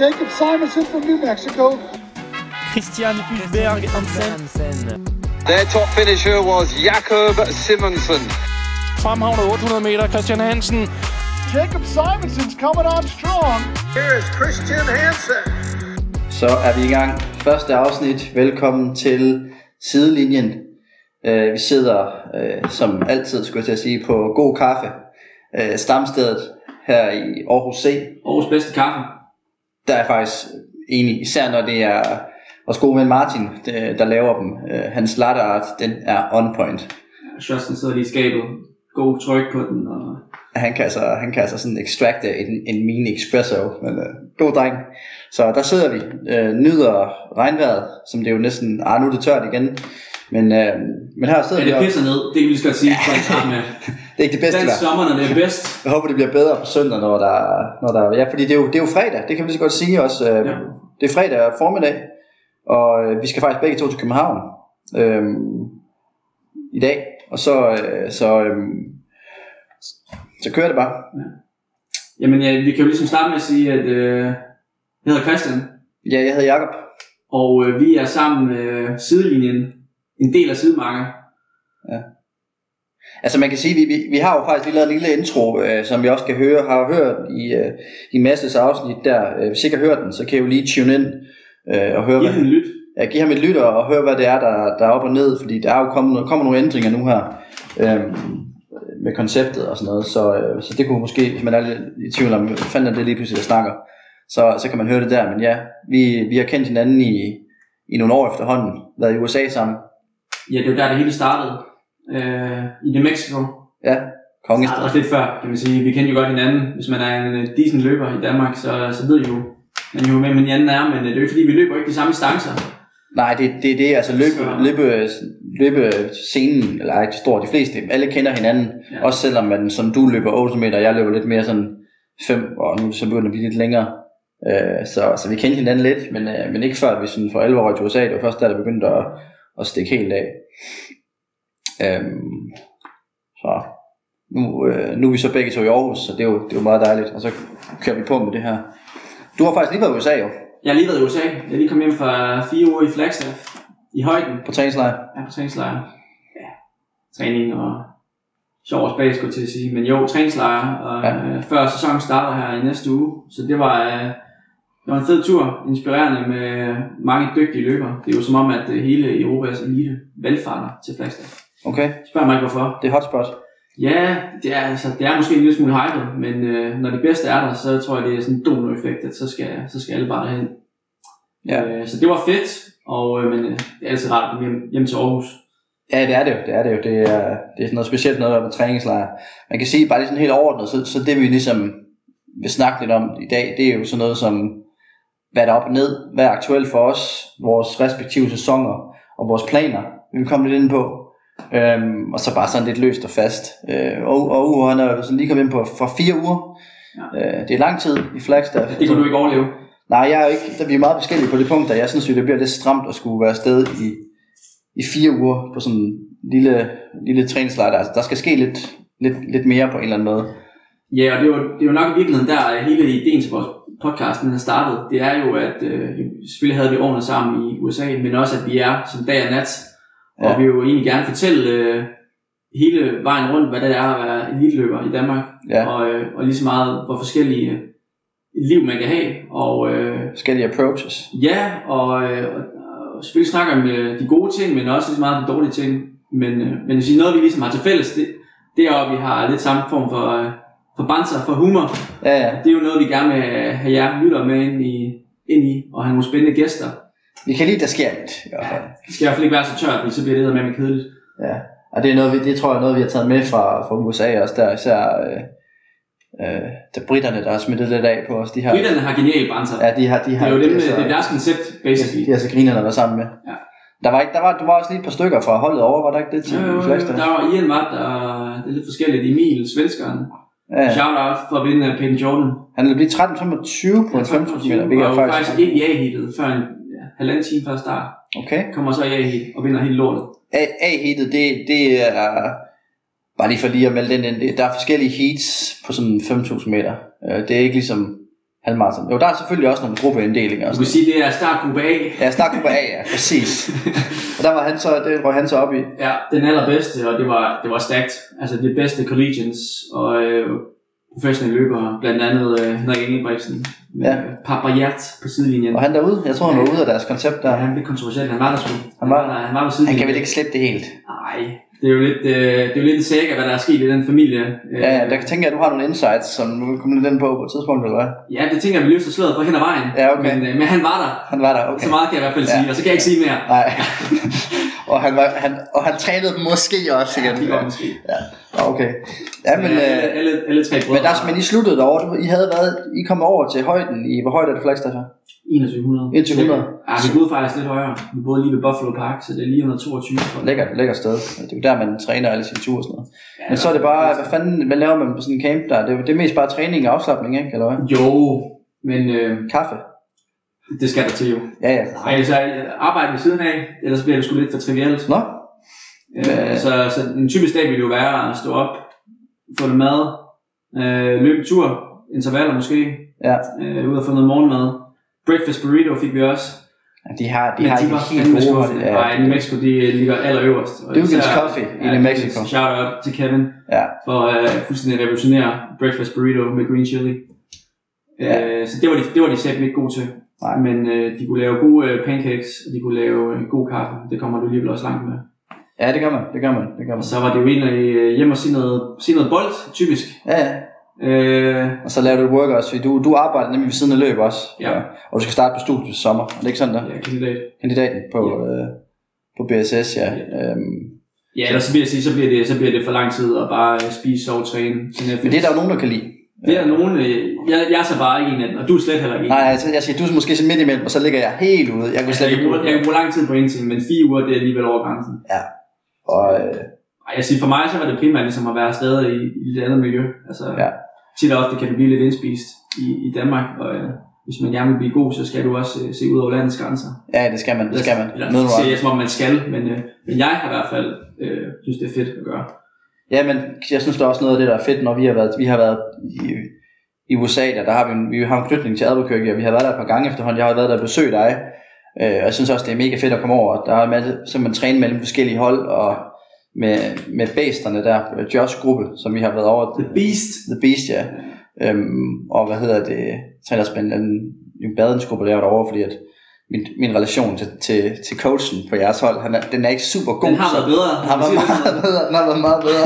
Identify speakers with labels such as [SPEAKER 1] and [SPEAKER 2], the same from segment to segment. [SPEAKER 1] Jacob Simonson from New Mexico.
[SPEAKER 2] Christian Hulberg Hansen.
[SPEAKER 3] Their top finisher was Jakob Simonsen.
[SPEAKER 2] Fremhavnet 800 meter, Christian Hansen.
[SPEAKER 1] Jacob Simonson's coming on strong. Here is Christian Hansen.
[SPEAKER 4] Så er vi i gang. Første afsnit. Velkommen til sidelinjen. Øh, vi sidder, øh, som altid skulle jeg til at sige, på god kaffe. Øh, stamstedet her i Aarhus C.
[SPEAKER 5] Aarhus bedste kaffe.
[SPEAKER 4] Der er jeg faktisk enig, især når det er vores gode ven Martin, øh, der laver dem. Øh, hans latte art, den er on point.
[SPEAKER 5] Shosten sidder lige i skabet. God tryk på den. Og...
[SPEAKER 4] Han kan altså, han kan altså sådan extracte en, en mini espresso, men øh, god dreng. Så der sidder vi, øh, nyder regnvejret, som det jo næsten, ah nu er det tørt igen. Men, øh, men her sidder
[SPEAKER 5] Ja,
[SPEAKER 4] vi
[SPEAKER 5] det
[SPEAKER 4] og-
[SPEAKER 5] pisser ned. Det kan vi lige så godt sige. Ja. Med.
[SPEAKER 4] det er ikke det bedste
[SPEAKER 5] Dansk
[SPEAKER 4] vejr.
[SPEAKER 5] sommer, når det er bedst.
[SPEAKER 4] Jeg håber, det bliver bedre på søndag, når der, når der ja, fordi det er, jo, det er jo fredag, det kan vi lige så godt sige også. Øh,
[SPEAKER 5] Ja.
[SPEAKER 4] Det er fredag formiddag, og øh, vi skal faktisk begge to til København øh, i dag, og så, øh, så, øh, så kører det bare.
[SPEAKER 5] Jamen, ja, vi kan jo ligesom starte med at sige, at øh, jeg hedder Christian,
[SPEAKER 4] Ja, jeg hedder Jakob.
[SPEAKER 5] og øh, vi er sammen øh, sidelinjen. En del af sidemarker.
[SPEAKER 4] Altså man kan sige, vi, vi, vi har jo faktisk lige lavet en lille intro, øh, som vi også kan høre, har hørt i, øh, i Masses afsnit der. Øh, Hvis I ikke har hørt den, så kan I jo lige tune ind øh, og høre,
[SPEAKER 5] Giv
[SPEAKER 4] hvad,
[SPEAKER 5] den en lyt.
[SPEAKER 4] ja, give ham et lytter og høre, hvad det er, der, der er op og ned, fordi der er jo kommet, noget- kommer nogle ændringer nu her øhm, med konceptet og sådan noget, så, øh, så det kunne måske, hvis man er lidt i tvivl om, hvad fanden er det lige pludselig, jeg snakker, så, så kan man høre det der, men ja, vi, vi har kendt hinanden i, i nogle år efterhånden, været i USA sammen,
[SPEAKER 5] Ja, det var der, det hele startede. Øh, I New Mexico.
[SPEAKER 4] ja,
[SPEAKER 5] Startede
[SPEAKER 4] kongestrøm.
[SPEAKER 5] også lidt før, kan man sige. Vi kender jo godt hinanden. Hvis man er en øh, decent løber i Danmark, så, så ved I jo, man jo, hvem hinanden er. Men øh, det er jo ikke, fordi, vi løber ikke de samme distancer.
[SPEAKER 4] Nej, det, det er det, altså løbe,
[SPEAKER 5] Så-
[SPEAKER 4] løbe, løbe scenen, eller ikke stor, de fleste, alle kender hinanden, ja.
[SPEAKER 5] Ja.
[SPEAKER 4] også selvom man, som du løber 8 meter, jeg løber lidt mere sådan 5, og nu så begynder det at blive lidt længere, øh, så, så vi kendte hinanden lidt, men, øh, men ikke før vi sådan for 11 år i USA, det var først der, der begyndte at, at stikke helt af. Øhm, så nu, øh, nu er vi så begge to i Aarhus, så det er, jo, det er jo meget dejligt, og så kører vi på med det her. Du har faktisk lige været i USA jo,
[SPEAKER 5] Jeg har lige været i USA. Jeg er lige kommet hjem fra fire uger i Flagstaff. I højden.
[SPEAKER 4] på træningslejr.
[SPEAKER 5] Ja, på træningslejr. Ja. Træning og sjov og spas, skulle jeg til at sige. Men jo, træningslejr. Og,
[SPEAKER 4] Ja.
[SPEAKER 5] ja. øh, før sæsonen starter her i næste uge. Så det var, øh, det var en fed tur. Inspirerende med mange dygtige løbere. Det er jo som om, at øh, hele Europas elite valgfarter til Flagstaff.
[SPEAKER 4] Okay,
[SPEAKER 5] Spørg mig ikke hvorfor.
[SPEAKER 4] det er hotspot.
[SPEAKER 5] Ja, det er, altså, det er måske en lille smule hypet, men øh, når det bedste er der, så tror jeg, det er sådan en dominoeffekt, at så skal, så skal alle bare derhen.
[SPEAKER 4] Ja.
[SPEAKER 5] Øh, så det var fedt, og, øh, men øh, det er altid rart at komme hjem, hjem til Aarhus.
[SPEAKER 4] Ja, det er det jo. Det er det jo. Det er, det er sådan noget specielt noget at være på træningslejr. Man kan sige bare lige sådan helt overordnet, så, så det vi ligesom vil snakke lidt om i dag, det er jo sådan noget som, hvad der er op og ned, hvad er aktuelt for os, vores respektive sæsoner og vores planer, vi vil komme lidt ind på. Øhm, og så bare sådan lidt løst og fast. Øh, og, og Uwe, han er jo sådan lige kommet ind på for fire uger. Ja.
[SPEAKER 5] Ja.
[SPEAKER 4] Øh, det er lang tid i Flagstaff.
[SPEAKER 5] Det kunne du ikke overleve.
[SPEAKER 4] Nej, jeg er jo ikke, der, vi er meget forskellige på det punkt, at jeg synes, jo, det bliver lidt stramt at skulle være afsted i, i fire uger på sådan en lille, lille træningslejr. Altså, Der, der skal ske lidt, lidt, lidt mere på en eller anden måde.
[SPEAKER 5] Ja, og det er jo, det er jo nok i virkeligheden der, at hele ideen til vores podcast den er startet. Det er jo, at øh, selvfølgelig havde vi årene sammen i USA, men også at vi er som dag og nat. Ja.
[SPEAKER 4] Ja.
[SPEAKER 5] Og vi vil jo egentlig gerne fortælle øh, hele vejen rundt, hvad det er at være elitløber i Danmark.
[SPEAKER 4] Ja,
[SPEAKER 5] og, øh, og lige så meget, hvor forskellige øh, liv man kan have. Og øh,
[SPEAKER 4] forskellige approaches.
[SPEAKER 5] ja, og, øh, og, og selvfølgelig snakker om øh, de gode ting, men også lige så meget de dårlige ting. Men, øh, men jeg vil sige, noget vi ligesom har til fælles, det, det er, at vi har lidt samme form for, øh, for banser, for humor.
[SPEAKER 4] Ja, ja.
[SPEAKER 5] Det er jo noget, vi gerne vil have jer lytter med ind i, ind i og have nogle spændende gæster.
[SPEAKER 4] Vi kan lide, der sker lidt. i hvert fald.
[SPEAKER 5] Det skal i hvert fald ikke være så tørt, fordi så bliver det med med kedeligt.
[SPEAKER 4] Ja. Og det, er noget, vi, det tror jeg er noget, vi har taget med fra, fra USA også, der især øh, øh, der britterne, der har smittet lidt af på os. De har,
[SPEAKER 5] Britterne har geniale banser.
[SPEAKER 4] ja, de har, de
[SPEAKER 5] det
[SPEAKER 4] har,
[SPEAKER 5] er jo dem, øh,
[SPEAKER 4] de
[SPEAKER 5] det
[SPEAKER 4] så-
[SPEAKER 5] er deres koncept, basically.
[SPEAKER 4] de har så grinerne der sammen med.
[SPEAKER 5] Ja.
[SPEAKER 4] Der var, ikke, der var, du var også lige et par stykker fra holdet over, var der ikke det til
[SPEAKER 5] Jo, jo, jo.
[SPEAKER 4] Flagstaff?
[SPEAKER 5] Øh, Der var Ian Watt og det er lidt forskelligt. Emil, svenskeren.
[SPEAKER 4] Ja,
[SPEAKER 5] Ja.
[SPEAKER 4] ja.
[SPEAKER 5] Shout out for at vinde af Peyton Jordan.
[SPEAKER 4] Han vil blive 13.25 på en 15 km,
[SPEAKER 5] Det
[SPEAKER 4] hvilket er
[SPEAKER 5] var faktisk
[SPEAKER 4] faktisk...
[SPEAKER 5] ikke i A-heatet før en ja, halvanden time før start.
[SPEAKER 4] Okay.
[SPEAKER 5] Kommer så i A-heat og vinder helt lortet.
[SPEAKER 4] A- A-heatet, det, det er... Bare lige for lige at melde den ind. det- Der er forskellige heats på sådan 5.000 meter. Øh, Det er ikke ligesom halvmarathon. Jo, der er selvfølgelig også nogle gruppeinddelinger. Og
[SPEAKER 5] Du kan
[SPEAKER 4] sådan.
[SPEAKER 5] sige, det er startgruppe A.
[SPEAKER 4] Ja, snakgruppe A, ja, præcis. Og der var han så, det røg han så op i.
[SPEAKER 5] Ja, den allerbedste, og det var, det var stærkt. Altså de bedste collegians og øh, professionelle løbere, blandt andet øh, Henrik Ingebrigtsen,
[SPEAKER 4] Ja.
[SPEAKER 5] øh, Papayat på sidelinjen.
[SPEAKER 4] Og han derude, jeg tror han var ude af deres koncept der.
[SPEAKER 5] Ja, han blev kontroversiel, han var der sgu.
[SPEAKER 4] Han var-
[SPEAKER 5] der, han var på sidelinjen.
[SPEAKER 4] Han kan vel ikke slippe det helt.
[SPEAKER 5] Nej, det er jo lidt, øh, det er jo lidt en saga, hvad der er sket i den familie. Øh,
[SPEAKER 4] Ja, ja, der tænker jeg, at du har nogle insights, som du vil komme lidt ind på på et tidspunkt, eller hvad?
[SPEAKER 5] ja, det tænker jeg, vi løfter sløret for hen ad vejen.
[SPEAKER 4] Ja, okay.
[SPEAKER 5] Men, øh, men han var der.
[SPEAKER 4] Han var der, okay.
[SPEAKER 5] Så meget kan jeg i hvert fald
[SPEAKER 4] Ja.
[SPEAKER 5] sige, og så kan jeg ikke sige mere.
[SPEAKER 4] Nej. og, han var, han, og han trænede dem måske også igen.
[SPEAKER 5] Det går måske.
[SPEAKER 4] Okay. Ja, men,
[SPEAKER 5] Ja,
[SPEAKER 4] øh,
[SPEAKER 5] alle, alle, alle tre brødre
[SPEAKER 4] men, der, men I sluttede derovre. Du- I havde været, I kom over til højden i, hvor højt er det flagstaf her?
[SPEAKER 5] 2100.
[SPEAKER 4] 2100.
[SPEAKER 5] Ja, vi boede faktisk lidt højere. Vi boede lige ved Buffalo Park, så det er lige under 22.
[SPEAKER 4] Lækkert, lækkert sted. Det er jo der, man træner alle sine ture og sådan noget.
[SPEAKER 5] Ja,
[SPEAKER 4] Men så er det bare, hvad fanden, hvad laver man på sådan en camp der? Det er, det er mest bare træning og afslappning, ikke? Eller hvad?
[SPEAKER 5] Jo, men øh,
[SPEAKER 4] Kaffe?
[SPEAKER 5] det skal der til jo.
[SPEAKER 4] Ja, ja.
[SPEAKER 5] Nej, så øh, arbejde ved siden af, ellers bliver det sgu lidt for trivielt.
[SPEAKER 4] Nå,
[SPEAKER 5] Øh, så, så en typisk dag ville jo være at stå op, få noget mad, øh, løbe en tur, intervaller måske,
[SPEAKER 4] ja.
[SPEAKER 5] øh, ud og få noget morgenmad. Breakfast burrito fik vi også.
[SPEAKER 4] De har, de
[SPEAKER 5] Men
[SPEAKER 4] har
[SPEAKER 5] de var
[SPEAKER 4] ikke helt
[SPEAKER 5] fandme
[SPEAKER 4] gode.
[SPEAKER 5] skuffende.
[SPEAKER 4] Ja,
[SPEAKER 5] Nej, New Mexico, de ligger allerøverst. Og
[SPEAKER 4] Dugan's
[SPEAKER 5] især-
[SPEAKER 4] Coffee i New Mexico.
[SPEAKER 5] Shout out til Kevin
[SPEAKER 4] ja.
[SPEAKER 5] for at øh, fuldstændig revolutionere breakfast burrito med green chili.
[SPEAKER 4] Ja.
[SPEAKER 5] Øh, så det var de, det var de selv ikke gode til.
[SPEAKER 4] Nej.
[SPEAKER 5] Men øh, de kunne lave gode øh, pancakes, og de kunne lave øh, god kaffe. Det kommer du alligevel også langt med.
[SPEAKER 4] ja, det gør man, det gør man, det gør
[SPEAKER 5] Og
[SPEAKER 4] man.
[SPEAKER 5] så var det jo egentlig øh, hjem og se noget, se noget bold, typisk.
[SPEAKER 4] Ja, ja.
[SPEAKER 5] Øh,
[SPEAKER 4] Og så laver du et workout, fordi du, du arbejder nemlig ved siden af løb også.
[SPEAKER 5] Ja.
[SPEAKER 4] Og du skal starte på studiet til sommer. Er det ikke sådan der?
[SPEAKER 5] ja, kandidat.
[SPEAKER 4] Kandidaten på,
[SPEAKER 5] Ja.
[SPEAKER 4] øh, på BSS, ja. Øhm,
[SPEAKER 5] Ja, ellers så vil jeg sige, så bliver det, så bliver det for lang tid at bare øh, spise, sove, træne. Sådan, jeg
[SPEAKER 4] men det er der jo nogen, der kan lide.
[SPEAKER 5] Det er nogen, øh, jeg, jeg er så bare ikke en af dem, og du er slet heller ikke en.
[SPEAKER 4] Nej, altså, jeg siger, du er måske sådan midt imellem, og så ligger jeg helt ude. Jeg kunne
[SPEAKER 5] altså,
[SPEAKER 4] slet
[SPEAKER 5] jeg,
[SPEAKER 4] ikke
[SPEAKER 5] kan bruge, jeg kan bruge lang tid på en ting, men fire uger, det er alligevel over grænsen.
[SPEAKER 4] Og, øh,
[SPEAKER 5] Ej, jeg siger, for mig så var det primært ligesom at være afsted i, i et andet miljø. Altså,
[SPEAKER 4] Ja.
[SPEAKER 5] Tit og ofte kan du blive lidt indspist i, i Danmark, og øh, hvis man gerne vil blive god, så skal du også øh, se ud over landets grænser.
[SPEAKER 4] ja, det skal man, det skal man.
[SPEAKER 5] Eller,
[SPEAKER 4] Noget
[SPEAKER 5] det er som om man skal, men, øh, men jeg har i hvert fald øh, synes, det er fedt at gøre.
[SPEAKER 4] Ja, men jeg synes, der er også noget af det, der er fedt, når vi har været, vi har været i, i USA, der, der har vi, en, vi har en knytning til Albuquerque, og vi har været der et par gange efterhånden. Jeg har været der og besøgt dig, øh, og jeg synes også, det er mega fedt at komme over. Der er med, simpelthen træne mellem forskellige hold, og med, med bæsterne der, øh, Josh gruppe, som vi har været over.
[SPEAKER 5] The Beast.
[SPEAKER 4] The Beast, ja. Øhm, og hvad hedder det, så er der også blandt andet en badensgruppe, der er derovre, fordi at min, min relation til, til, til coachen på jeres hold, han er, den er ikke super god.
[SPEAKER 5] Den har
[SPEAKER 4] så-
[SPEAKER 5] været bedre.
[SPEAKER 4] han var
[SPEAKER 5] Siger det
[SPEAKER 4] meget
[SPEAKER 5] sådan.
[SPEAKER 4] bedre, han har været meget bedre.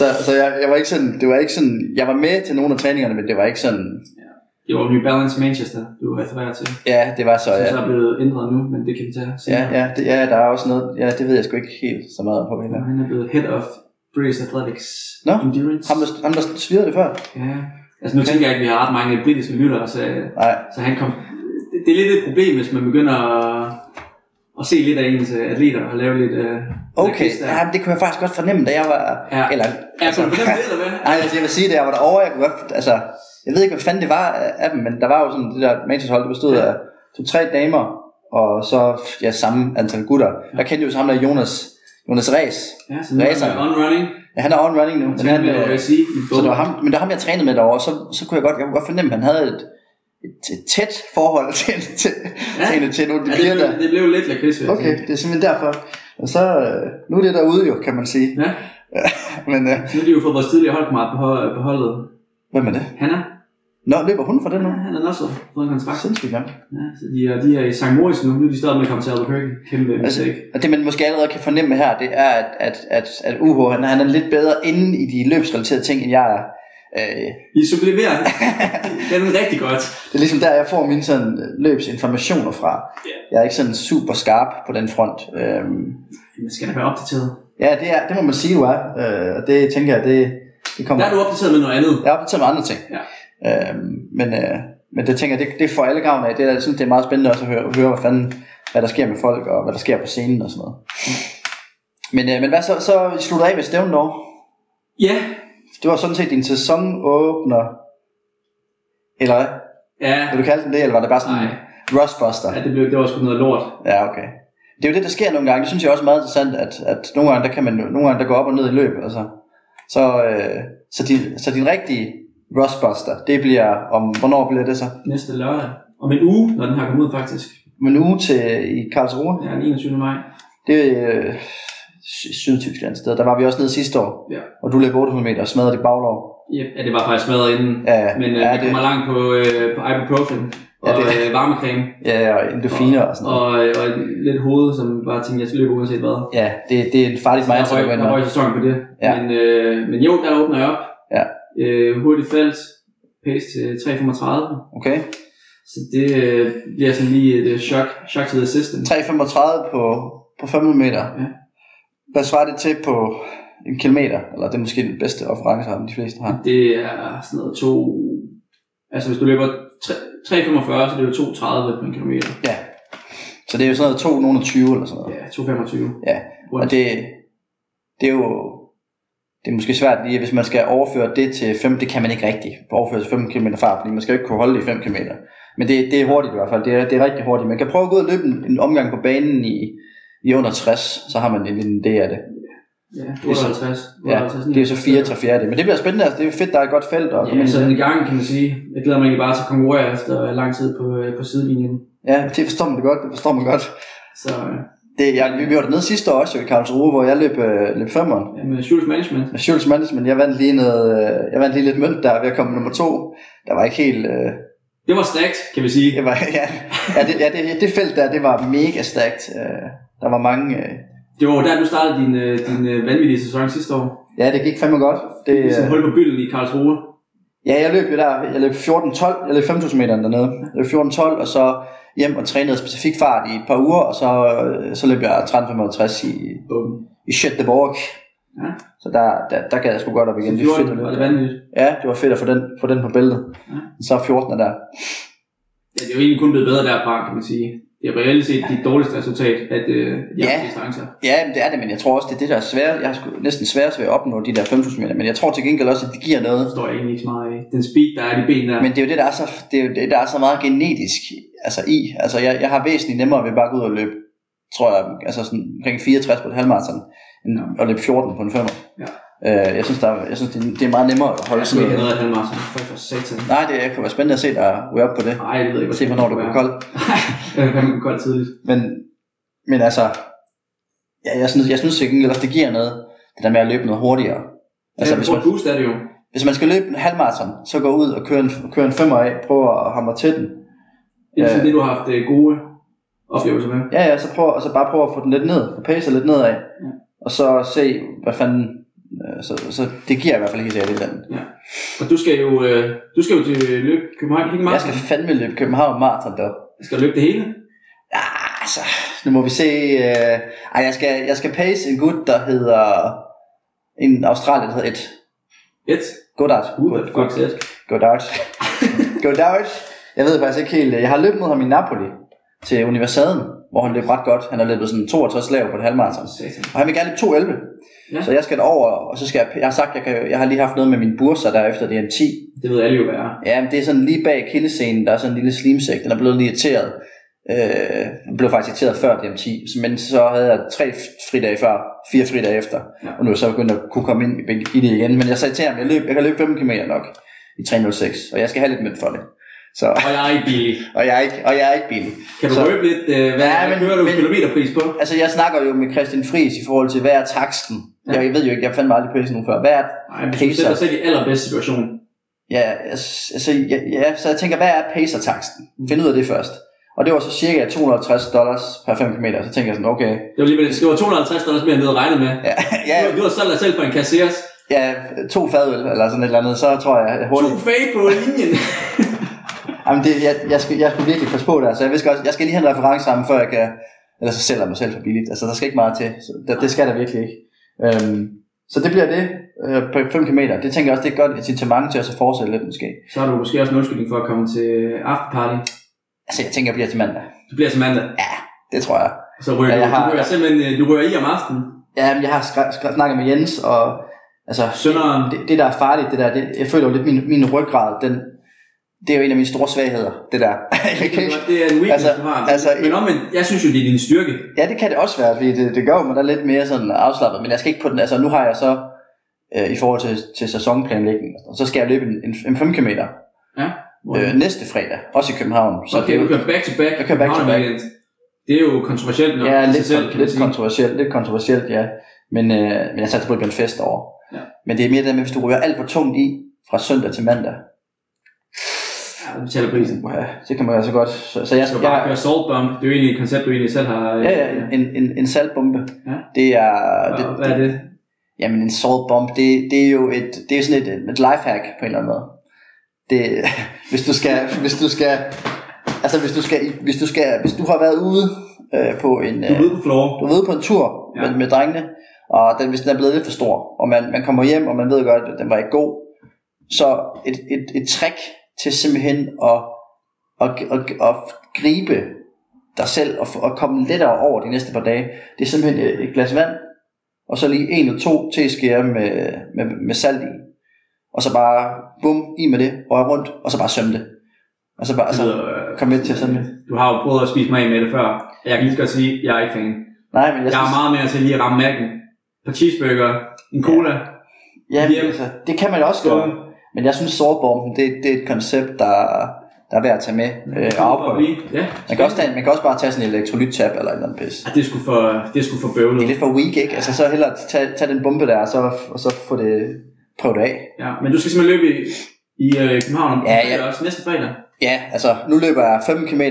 [SPEAKER 4] så så jeg, jeg, var ikke sådan, det var ikke sådan, jeg var med til nogle af træningerne, men det var ikke sådan,
[SPEAKER 5] Det var New Balance Manchester, du refererer til.
[SPEAKER 4] ja, det var så,
[SPEAKER 5] Så, ja. så
[SPEAKER 4] ja.
[SPEAKER 5] er blevet ændret nu, men det kan vi tage
[SPEAKER 4] Ja, ja, det, ja, der er også noget, ja, det ved jeg sgu ikke helt så meget på.
[SPEAKER 5] Og
[SPEAKER 4] Heller.
[SPEAKER 5] han er blevet head of British Athletics
[SPEAKER 4] Nå,
[SPEAKER 5] Endurance.
[SPEAKER 4] Ham, der, ham, der svirrede det før?
[SPEAKER 5] Ja. Altså nu tænker jeg ikke, at vi har ret mange britiske lyttere, så,
[SPEAKER 4] Nej,
[SPEAKER 5] så han kom... Det, det er lidt et problem, hvis man begynder at, at se lidt af ens øh, atleter og lave lidt... Øh,
[SPEAKER 4] okay,
[SPEAKER 5] lidt
[SPEAKER 4] ja,
[SPEAKER 5] der.
[SPEAKER 4] men det kunne jeg faktisk godt fornemme, da jeg var,
[SPEAKER 5] Ja.
[SPEAKER 4] eller,
[SPEAKER 5] Ja, altså, på den måde, eller hvad?
[SPEAKER 4] nej, altså, jeg vil sige, da jeg var derovre, jeg kunne godt, altså, jeg ved ikke, hvad fanden det var af dem, men der var jo sådan, det der Manchester hold, det bestod af to-tre damer, og så, ja, samme antal gutter. Der kendte jeg jo så ham der Jonas, Jonas Ræs,
[SPEAKER 5] Ja, så nu er
[SPEAKER 4] Racer.
[SPEAKER 5] han on running.
[SPEAKER 4] Ja, han er on running nu. Men
[SPEAKER 5] Så han
[SPEAKER 4] han,
[SPEAKER 5] vil
[SPEAKER 4] øh,
[SPEAKER 5] jeg sige i
[SPEAKER 4] så det
[SPEAKER 5] bog.
[SPEAKER 4] var ham, men det var ham, jeg trænede med derovre, så, så kunne jeg godt, jeg kunne godt fornemme, at han havde et, et, et tæt forhold til, til,
[SPEAKER 5] Ja.
[SPEAKER 4] ja. til, en- til nogle af de
[SPEAKER 5] Ja, det,
[SPEAKER 4] piger der.
[SPEAKER 5] blev, det blev lidt lakrids, vil jeg
[SPEAKER 4] Okay,
[SPEAKER 5] sige.
[SPEAKER 4] det er simpelthen derfor. Og så, øh, nu er det derude jo, kan man sige.
[SPEAKER 5] Ja,
[SPEAKER 4] Men øh,
[SPEAKER 5] så nu har de jo fået vores tidligere holdkammerat på, på holdet.
[SPEAKER 4] hvem er det?
[SPEAKER 5] Hanna,
[SPEAKER 4] Nå, løber hun for det nu?
[SPEAKER 5] ja, han har også fået en kontrakt.
[SPEAKER 4] Sindssygt gang.
[SPEAKER 5] Ja, så de er, de er i St. Moritz nu. Nu er de stadig med at komme til Albuquerque. Kæmpe
[SPEAKER 4] Altså,
[SPEAKER 5] mistake.
[SPEAKER 4] og det man måske allerede kan fornemme her, det er, at, at, at, at UH han, er- han er lidt bedre inde i de løbsrelaterede ting, end jeg er. Øh,
[SPEAKER 5] I sublimerer den rigtig godt.
[SPEAKER 4] det er ligesom der, jeg får mine sådan, øh, løbsinformationer fra.
[SPEAKER 5] Ja.
[SPEAKER 4] Jeg er ikke sådan super skarp på den front. Øh,
[SPEAKER 5] Man skal da være opdateret.
[SPEAKER 4] Ja, det, er, det må man sige, du er. Øh, og det tænker jeg, det, det kommer...
[SPEAKER 5] Der er du opdateret med noget andet.
[SPEAKER 4] Jeg er opdateret med andre ting.
[SPEAKER 5] Ja.
[SPEAKER 4] Øh, men, øh, men det tænker jeg, det, det får alle gavn af. Det, er- jeg synes, det er meget spændende også at høre, høre hvad, fanden, hvad der sker med folk, og hvad der sker på scenen og sådan noget. Men, øh, men hvad så, så I slutter af ved stævnen dog?
[SPEAKER 5] Ja,
[SPEAKER 4] Det var sådan set din sæsonåbner, eller hvad?
[SPEAKER 5] ja.
[SPEAKER 4] Vil du kalde den det, eller var det bare sådan
[SPEAKER 5] Nej,
[SPEAKER 4] en rustbuster?
[SPEAKER 5] ja, det, blev, det var sgu noget lort.
[SPEAKER 4] Ja, okay. Det er jo det, der sker nogle gange. Det synes jeg også er meget interessant, at, at nogle gange, der kan man nogle gange, der går op og ned i løb. Altså. Så, øh, så, din, så din rigtige Rustbuster. Det bliver om, hvornår bliver det så?
[SPEAKER 5] næste lørdag. Om en uge, når den her kommer ud faktisk.
[SPEAKER 4] Om en uge til i Karlsruhe.
[SPEAKER 5] Ja, den 21. maj.
[SPEAKER 4] Det er øh, Sy- Sydtyskland sted. Der var vi også nede sidste år.
[SPEAKER 5] Ja.
[SPEAKER 4] Og du løb 800 meter og smadrede dit baglov.
[SPEAKER 5] Ja, ja, det var faktisk smadret inden.
[SPEAKER 4] Ja,
[SPEAKER 5] Men øh,
[SPEAKER 4] ja,
[SPEAKER 5] vi
[SPEAKER 4] det-
[SPEAKER 5] kommer langt på, øh, på ibuprofen og
[SPEAKER 4] Ja,
[SPEAKER 5] øh,
[SPEAKER 4] det-
[SPEAKER 5] varmecreme.
[SPEAKER 4] Ja, og endofiner og sådan noget.
[SPEAKER 5] Og, øh, og lidt hoved, som bare tænkte, jeg skal løbe uanset hvad.
[SPEAKER 4] Ja, det, det er en farligt
[SPEAKER 5] Der
[SPEAKER 4] mindset.
[SPEAKER 5] røg,
[SPEAKER 4] at gå ind
[SPEAKER 5] der
[SPEAKER 4] med.
[SPEAKER 5] røg sæsonen på det.
[SPEAKER 4] Ja.
[SPEAKER 5] Men, øh, men jo, der åbner jeg op.
[SPEAKER 4] Ja.
[SPEAKER 5] Øh, hurtigt felt. Pace til 3,35.
[SPEAKER 4] Okay.
[SPEAKER 5] Så det øh, bliver sådan lige et øh, chok, chok to the system.
[SPEAKER 4] 3,35 på, på 500 meter.
[SPEAKER 5] Ja.
[SPEAKER 4] Hvad svarer det til på en kilometer? Eller det er måske den bedste reference, som de fleste har.
[SPEAKER 5] Det er sådan noget to... Altså hvis du løber tre- 3,45, så det er det 2,30 på en kilometer.
[SPEAKER 4] Ja. Så det er jo sådan noget 2, nogen 20 eller sådan noget.
[SPEAKER 5] Ja, 2,25.
[SPEAKER 4] Ja,
[SPEAKER 5] Rundt.
[SPEAKER 4] Og det, det er jo det er måske svært lige, hvis man skal overføre det til 5, det kan man ikke rigtig overføre til 5 km fart, fordi man skal jo ikke kunne holde det i 5 km. Men det, det er hurtigt i hvert fald, det er, det er rigtig hurtigt. Man kan prøve at gå ud og løbe en, en omgang på banen i, i under 60, så har man en lille idé af det.
[SPEAKER 5] Ja,
[SPEAKER 4] Det er så-
[SPEAKER 5] 58.
[SPEAKER 4] Ja, det er så 4 3 fjerde. Men det bliver spændende, altså, det er fedt, der er et godt felt. Og
[SPEAKER 5] Ja, så den gang kan man sige. Jeg glæder mig egentlig bare til at konkurrere efter lang tid på, øh, på sidelinjen.
[SPEAKER 4] ja, det forstår man det godt, det forstår man godt.
[SPEAKER 5] Så øh,
[SPEAKER 4] Det, jeg, vi vi var dernede sidste år også jo i Karlsruhe, hvor jeg løb, øh, løb femmeren.
[SPEAKER 5] ja, med Schultz Management.
[SPEAKER 4] med Schultz Management, jeg vandt lige, noget, øh, jeg vandt lige lidt mønt der ved at komme nummer to. Der var ikke helt... Øh,
[SPEAKER 5] Det var stærkt, kan vi sige.
[SPEAKER 4] det var, ja, ja, det, ja det, det, felt der, det var mega stærkt. Øh, der var mange... Øh,
[SPEAKER 5] Det var jo der, du startede din, øh, din øh, vanvittige sæson sidste år.
[SPEAKER 4] ja, det gik fandme godt. Det,
[SPEAKER 5] Det er sådan
[SPEAKER 4] øh,
[SPEAKER 5] hul på bylden i Karlsruhe.
[SPEAKER 4] ja, jeg løb jo der, jeg løb 14-12, jeg løb 5.000 meter dernede. Jeg løb 14-12, og så hjem og trænede specifik fart i et par uger, og så, øh, så løb jeg 13.55 i,
[SPEAKER 5] Bum.
[SPEAKER 4] i Schøtteborg.
[SPEAKER 5] Ja.
[SPEAKER 4] Så der, der, der gad jeg sgu godt op igen. Det er fedt at
[SPEAKER 5] 14 var det
[SPEAKER 4] løbe.
[SPEAKER 5] vanvittigt.
[SPEAKER 4] Ja, det var fedt at få den, få den på bæltet.
[SPEAKER 5] Ja.
[SPEAKER 4] Så 14 er der.
[SPEAKER 5] Ja, det er jo egentlig kun blevet bedre derfra, kan man sige. Det er reelt set dit dårligste resultat, at øh, de
[SPEAKER 4] Ja.
[SPEAKER 5] ja. distancer.
[SPEAKER 4] Ja, men det er det, men jeg tror også, det er det, der er svært. Jeg har sgu næsten sværest ved at opnå de der 5.000 meter, men jeg tror til gengæld også, at det giver noget.
[SPEAKER 5] Det står jeg egentlig ikke så meget af. Den speed, der er i de ben der.
[SPEAKER 4] Men det er jo det, der er så, det er jo det, der er så meget genetisk altså i. Altså, jeg, jeg har væsentligt nemmere ved bare at gå ud og løbe, tror jeg, altså sådan omkring 64 på et halvmarathon, end at løbe 14 på en femmer.
[SPEAKER 5] Ja.
[SPEAKER 4] Øh, jeg synes, der, er- jeg synes det, er- det er meget nemmere at holde
[SPEAKER 5] jeg skal
[SPEAKER 4] sådan
[SPEAKER 5] ikke have
[SPEAKER 4] noget.
[SPEAKER 5] noget af halvmarathon. Fuck for satan.
[SPEAKER 4] Nej, det kunne være spændende at se dig ryge op på det.
[SPEAKER 5] Nej, det ved jeg ikke.
[SPEAKER 4] Se, hvornår du går kold.
[SPEAKER 5] Jeg kan gå kold tidligt.
[SPEAKER 4] Men, men altså, ja, jeg synes, jeg synes til gengæld også, det giver noget, det der med at løbe noget hurtigere.
[SPEAKER 5] Altså, ja,
[SPEAKER 4] hvis
[SPEAKER 5] hvis man... boost er det jo.
[SPEAKER 4] Hvis man skal løbe en halvmarathon, så gå ud og køre en, køre en femmer af, prøv at hamre til den.
[SPEAKER 5] Det er
[SPEAKER 4] Ja.
[SPEAKER 5] sådan det, du har haft øh, gode oplevelser med.
[SPEAKER 4] Ja, ja, så prøv, og så bare prøv at få den lidt ned, få pacet lidt nedad,
[SPEAKER 5] Ja.
[SPEAKER 4] og så se, hvad fanden, øh, så, så det giver i hvert fald helt sikkert et eller andet.
[SPEAKER 5] Og du skal jo, øh, du skal jo til løb København Hikken
[SPEAKER 4] Jeg
[SPEAKER 5] Marathon.
[SPEAKER 4] skal
[SPEAKER 5] Jeg
[SPEAKER 4] fandme løbe København Marathon dog.
[SPEAKER 5] skal... skal du løbe det hele.
[SPEAKER 4] Ja, altså, nu må vi se, øh, ej, jeg skal, jeg skal pace en gut, der hedder, en australier, der hedder Ed.
[SPEAKER 5] Et.
[SPEAKER 4] Goddard.
[SPEAKER 5] Gud, hvad fuck
[SPEAKER 4] Goddard.
[SPEAKER 5] det
[SPEAKER 4] Goddard. Goddard. Jeg ved faktisk ikke helt. øh, Jeg har løbet mod ham i Napoli til Universaden, hvor han løb ret godt. Han har løbet sådan 62 lav på et halvmarathon.
[SPEAKER 5] Satan.
[SPEAKER 4] Og han vil gerne løbe 2.11.
[SPEAKER 5] Ja.
[SPEAKER 4] Så jeg skal over, og så skal jeg, jeg har sagt, jeg, kan, jeg har lige haft noget med min burser der efter DM10.
[SPEAKER 5] Det ved alle jo, hvad er.
[SPEAKER 4] Ja, men det er sådan lige bag kildescenen, der er sådan en lille slimsæk. Den er blevet lidt irriteret. Øh, jeg blev faktisk irriteret før DM10, så- men så havde jeg tre fridage før, fire fridage efter.
[SPEAKER 5] Ja.
[SPEAKER 4] Og nu er jeg så begyndt at kunne komme ind i begge- i det igen. Men jeg sagde til ham, jeg, løb, jeg kan løbe 5 km nok i 3.06, og jeg skal have lidt mønt for det. Så,
[SPEAKER 5] Og jeg er ikke billig.
[SPEAKER 4] og, jeg er ikke, og jeg er ikke billig.
[SPEAKER 5] Kan du
[SPEAKER 4] Så-
[SPEAKER 5] røbe lidt, øh, hvad,
[SPEAKER 4] Ja,
[SPEAKER 5] ja, men,
[SPEAKER 4] men-
[SPEAKER 5] kører du
[SPEAKER 4] men-
[SPEAKER 5] kilometerpris på?
[SPEAKER 4] Altså, jeg snakker jo med Christian Friis i forhold til, hvad er taksten?
[SPEAKER 5] Ja.
[SPEAKER 4] Jeg ved jo ikke, jeg fandt mig aldrig prisen nu før. Hvad er,
[SPEAKER 5] Nej, men du sætter dig selv i allerbedste situation.
[SPEAKER 4] Ja, altså, ja, ja, så jeg tænker, hvad er pacer-taksten? Find ud af det først. Og det var så cirka 250 dollars per 5 km. Så tænker jeg sådan, okay.
[SPEAKER 5] Det var, lige, med- det var 250 dollars mere end det, jeg regnede med.
[SPEAKER 4] Ja,
[SPEAKER 5] Ja.
[SPEAKER 4] ja,
[SPEAKER 5] Du, du har solgt dig selv på en kasseres.
[SPEAKER 4] ja to fadøl eller sådan et eller andet, så tror jeg
[SPEAKER 5] To
[SPEAKER 4] hurtigt.
[SPEAKER 5] fade på linjen.
[SPEAKER 4] Jamen, det, jeg, jeg, skal, jeg skulle virkelig passe på der, så jeg, vil også, jeg skal lige have en reference sammen, før jeg kan... Ellers så sælger jeg mig selv for billigt. Altså, der skal ikke meget til. Så det, det skal der virkelig ikke. Øhm, så det bliver det øh, på 5 km. Det tænker jeg også, det er et godt incitament til at så fortsætte lidt måske.
[SPEAKER 5] Så har du måske også en undskyldning for at komme til afterparty.
[SPEAKER 4] Altså, jeg tænker, jeg bliver til mandag.
[SPEAKER 5] Du bliver til mandag.
[SPEAKER 4] Det tror jeg.
[SPEAKER 5] Så ryger
[SPEAKER 4] Ja,
[SPEAKER 5] ja,
[SPEAKER 4] jeg
[SPEAKER 5] har... du
[SPEAKER 4] har-
[SPEAKER 5] ryger simpelthen øh, du ryger i om aftenen.
[SPEAKER 4] Ja, men jeg har skra- skra- snakket med Jens, og altså,
[SPEAKER 5] Sønderen.
[SPEAKER 4] det, det, der er farligt, det der, det, jeg føler jo lidt, min, min ryggrad, den, det er jo en af mine store svagheder, det der. jeg kan ikke,
[SPEAKER 5] Det er en weakness,
[SPEAKER 4] Altså-
[SPEAKER 5] du har.
[SPEAKER 4] altså-
[SPEAKER 5] men omvendt, jeg synes jo, det er din styrke.
[SPEAKER 4] ja, det kan det også være, fordi det, det gør mig da lidt mere sådan afslappet, men jeg skal ikke på den, altså nu har jeg så øh, i forhold til, til sæsonplanlægning. Og så skal jeg løbe en, en, en 5 km
[SPEAKER 5] Ja. Hvor-
[SPEAKER 4] øh, næste fredag, også i København.
[SPEAKER 5] Så okay,
[SPEAKER 4] det er
[SPEAKER 5] du
[SPEAKER 4] jo-
[SPEAKER 5] kører back to back.
[SPEAKER 4] Jeg kører back to
[SPEAKER 5] København
[SPEAKER 4] back.
[SPEAKER 5] Weekend. Det er jo kontroversielt nok.
[SPEAKER 4] Ja,
[SPEAKER 5] i sig
[SPEAKER 4] lidt,
[SPEAKER 5] selv,
[SPEAKER 4] selv,
[SPEAKER 5] kan
[SPEAKER 4] lidt
[SPEAKER 5] man sige.
[SPEAKER 4] kontroversielt, lidt kontroversielt, ja. Men, øh, men jeg satte på, at det blev en fest over.
[SPEAKER 5] Ja.
[SPEAKER 4] Men det er mere det der med, hvis du ryger alt for tungt i, fra søndag til mandag,
[SPEAKER 5] Ja, du betaler prisen.
[SPEAKER 4] ja, det kan man altså godt. Så, så jeg,
[SPEAKER 5] Jeg skal
[SPEAKER 4] jeg,
[SPEAKER 5] jo bare
[SPEAKER 4] jeg
[SPEAKER 5] køre salt bump. Det er jo egentlig et koncept, du egentlig selv har... øh,
[SPEAKER 4] ja, ja, en, en, en saltbombe,
[SPEAKER 5] Ja.
[SPEAKER 4] det er...
[SPEAKER 5] Hvad,
[SPEAKER 4] Det,
[SPEAKER 5] hvad er det?
[SPEAKER 4] Jamen en salt bomb, det, det er jo et, det er sådan et, et lifehack på en eller anden måde. Det, hvis du skal, hvis du skal, altså hvis du skal, hvis du skal, hvis du har været ude øh, på en,
[SPEAKER 5] Du er
[SPEAKER 4] øh,
[SPEAKER 5] ude på floor.
[SPEAKER 4] du ved på en tur
[SPEAKER 5] Ja.
[SPEAKER 4] ja. med, med drengene, og den, hvis den er blevet lidt for stor, og man, man kommer hjem, og man ved godt, at den var ikke god, så et, et, et trick til simpelthen at, at, at, at, at gribe dig selv og, og komme lettere over de næste par dage, det er simpelthen et, et glas vand, og så lige en eller to teskeer med, med, med salt i, og så bare bum, i med det, rør rundt, og så bare sømme det. Og så bare,
[SPEAKER 5] Det
[SPEAKER 4] altså,
[SPEAKER 5] lyder, øh,
[SPEAKER 4] kom med til at sømme det.
[SPEAKER 5] Du har jo prøvet at spise mig af med det før. Jeg kan lige så godt sige, jeg er ikke fan.
[SPEAKER 4] Nej, men jeg,
[SPEAKER 5] Jeg er meget mere til lige at ramme mærken. På cheeseburger, en cola.
[SPEAKER 4] ja,
[SPEAKER 5] hjem.
[SPEAKER 4] men, altså, det kan man også gøre.
[SPEAKER 5] skål.
[SPEAKER 4] Men jeg synes, sårbomben, det, det er et koncept, der, der er værd at tage med øh, og
[SPEAKER 5] Og
[SPEAKER 4] afprøve.
[SPEAKER 5] lige- Ja,
[SPEAKER 4] Man kan, også tage, man kan også bare tage sådan en elektrolyttab eller et eller andet pis.
[SPEAKER 5] Ej, det er sgu for, det er sgu for bøvlet.
[SPEAKER 4] Det er lidt for weak, ikke? Altså så hellere tage, tage den bombe der, og så, og så få det prøvet af.
[SPEAKER 5] Ja, men du skal simpelthen løbe i, i øh, København.
[SPEAKER 4] Ja,
[SPEAKER 5] Det er
[SPEAKER 4] ja.
[SPEAKER 5] Også næste fredag.
[SPEAKER 4] Ja, altså nu løber jeg 5 km,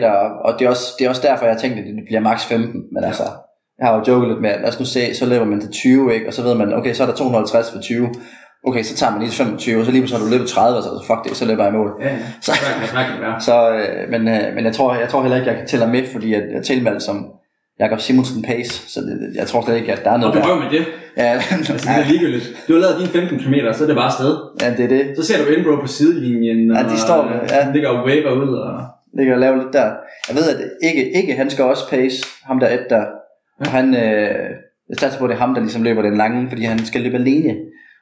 [SPEAKER 4] og det er, også, det er også derfor, jeg tænkte, at det bliver maks 15. Men altså, jeg har jo joket lidt med, at lad os nu se, så løber man til 20, ikke? Og så ved man, okay, så er der 250 for 20. Okay, så tager man lige 25, og så lige så har du løbet 30, og så fuck det, så løber jeg i mål.
[SPEAKER 5] Ja, ja. Så
[SPEAKER 4] Så-
[SPEAKER 5] kan det kan det være.
[SPEAKER 4] Så, øh, men, øh, men jeg, tror, jeg tror heller ikke, jeg kan tælle ham med, fordi jeg, jeg er tilmeldt som Jakob Simonsen Pace, så det, jeg tror slet ikke, at der er
[SPEAKER 5] Og
[SPEAKER 4] noget
[SPEAKER 5] du
[SPEAKER 4] der.
[SPEAKER 5] røv med det.
[SPEAKER 4] Ja,
[SPEAKER 5] Altså, det er ligegyldigt. Du har lavet dine 15 km, så er det bare afsted.
[SPEAKER 4] ja, det er det.
[SPEAKER 5] Så ser du Enbro på sidelinjen, og
[SPEAKER 4] Ja, de står med, ja.
[SPEAKER 5] han ligger og waver ud. Og...
[SPEAKER 4] Det kan jeg lave lidt der. Jeg ved, at ikke, ikke han skal også pace, ham der et der. Og han, øh, jeg satser på, at det er ham, der ligesom løber den lange, fordi han skal løbe alene.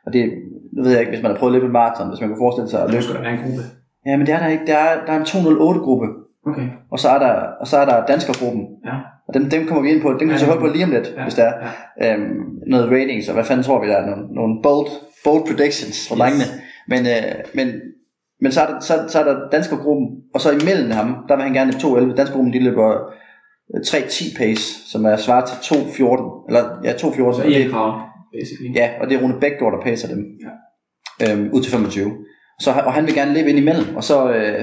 [SPEAKER 4] Og det, nu ved jeg ikke, hvis man har prøvet at løbe en maraton, hvis man kan forestille sig
[SPEAKER 5] Og
[SPEAKER 4] at
[SPEAKER 5] det
[SPEAKER 4] løbe.
[SPEAKER 5] skulle da være en gruppe.
[SPEAKER 4] Ja, men det er der ikke. Der er, der er en 208-gruppe,
[SPEAKER 5] Okay.
[SPEAKER 4] og så er der, og så er der danskergruppen.
[SPEAKER 5] Ja.
[SPEAKER 4] Og dem, dem kommer vi ind på. Dem kan vi
[SPEAKER 5] Ja,
[SPEAKER 4] så
[SPEAKER 5] ja.
[SPEAKER 4] holde på lige om lidt,
[SPEAKER 5] Ja.
[SPEAKER 4] hvis det er.
[SPEAKER 5] Ja.
[SPEAKER 4] øhm, noget ratings, og hvad fanden tror vi, der er nogle, nogle bold, bold predictions fra
[SPEAKER 5] Yes.
[SPEAKER 4] yes. drengene. Men, øh, men, men så, er der, så, så er der danskergruppen, og så imellem ham, der vil han gerne løbe 2.11. Danskergruppen, de løber øh, 3.10 pace, som er svaret til 2.14. Eller ja, 2.14.
[SPEAKER 5] Så
[SPEAKER 4] og
[SPEAKER 5] Erik
[SPEAKER 4] det,
[SPEAKER 5] Krav, basically.
[SPEAKER 4] ja, og det er Rune Bækgaard, der pacer dem.
[SPEAKER 5] Ja.
[SPEAKER 4] Øhm, ud til 25. Så, han- og han vil gerne løbe ind imellem, og så... Øh,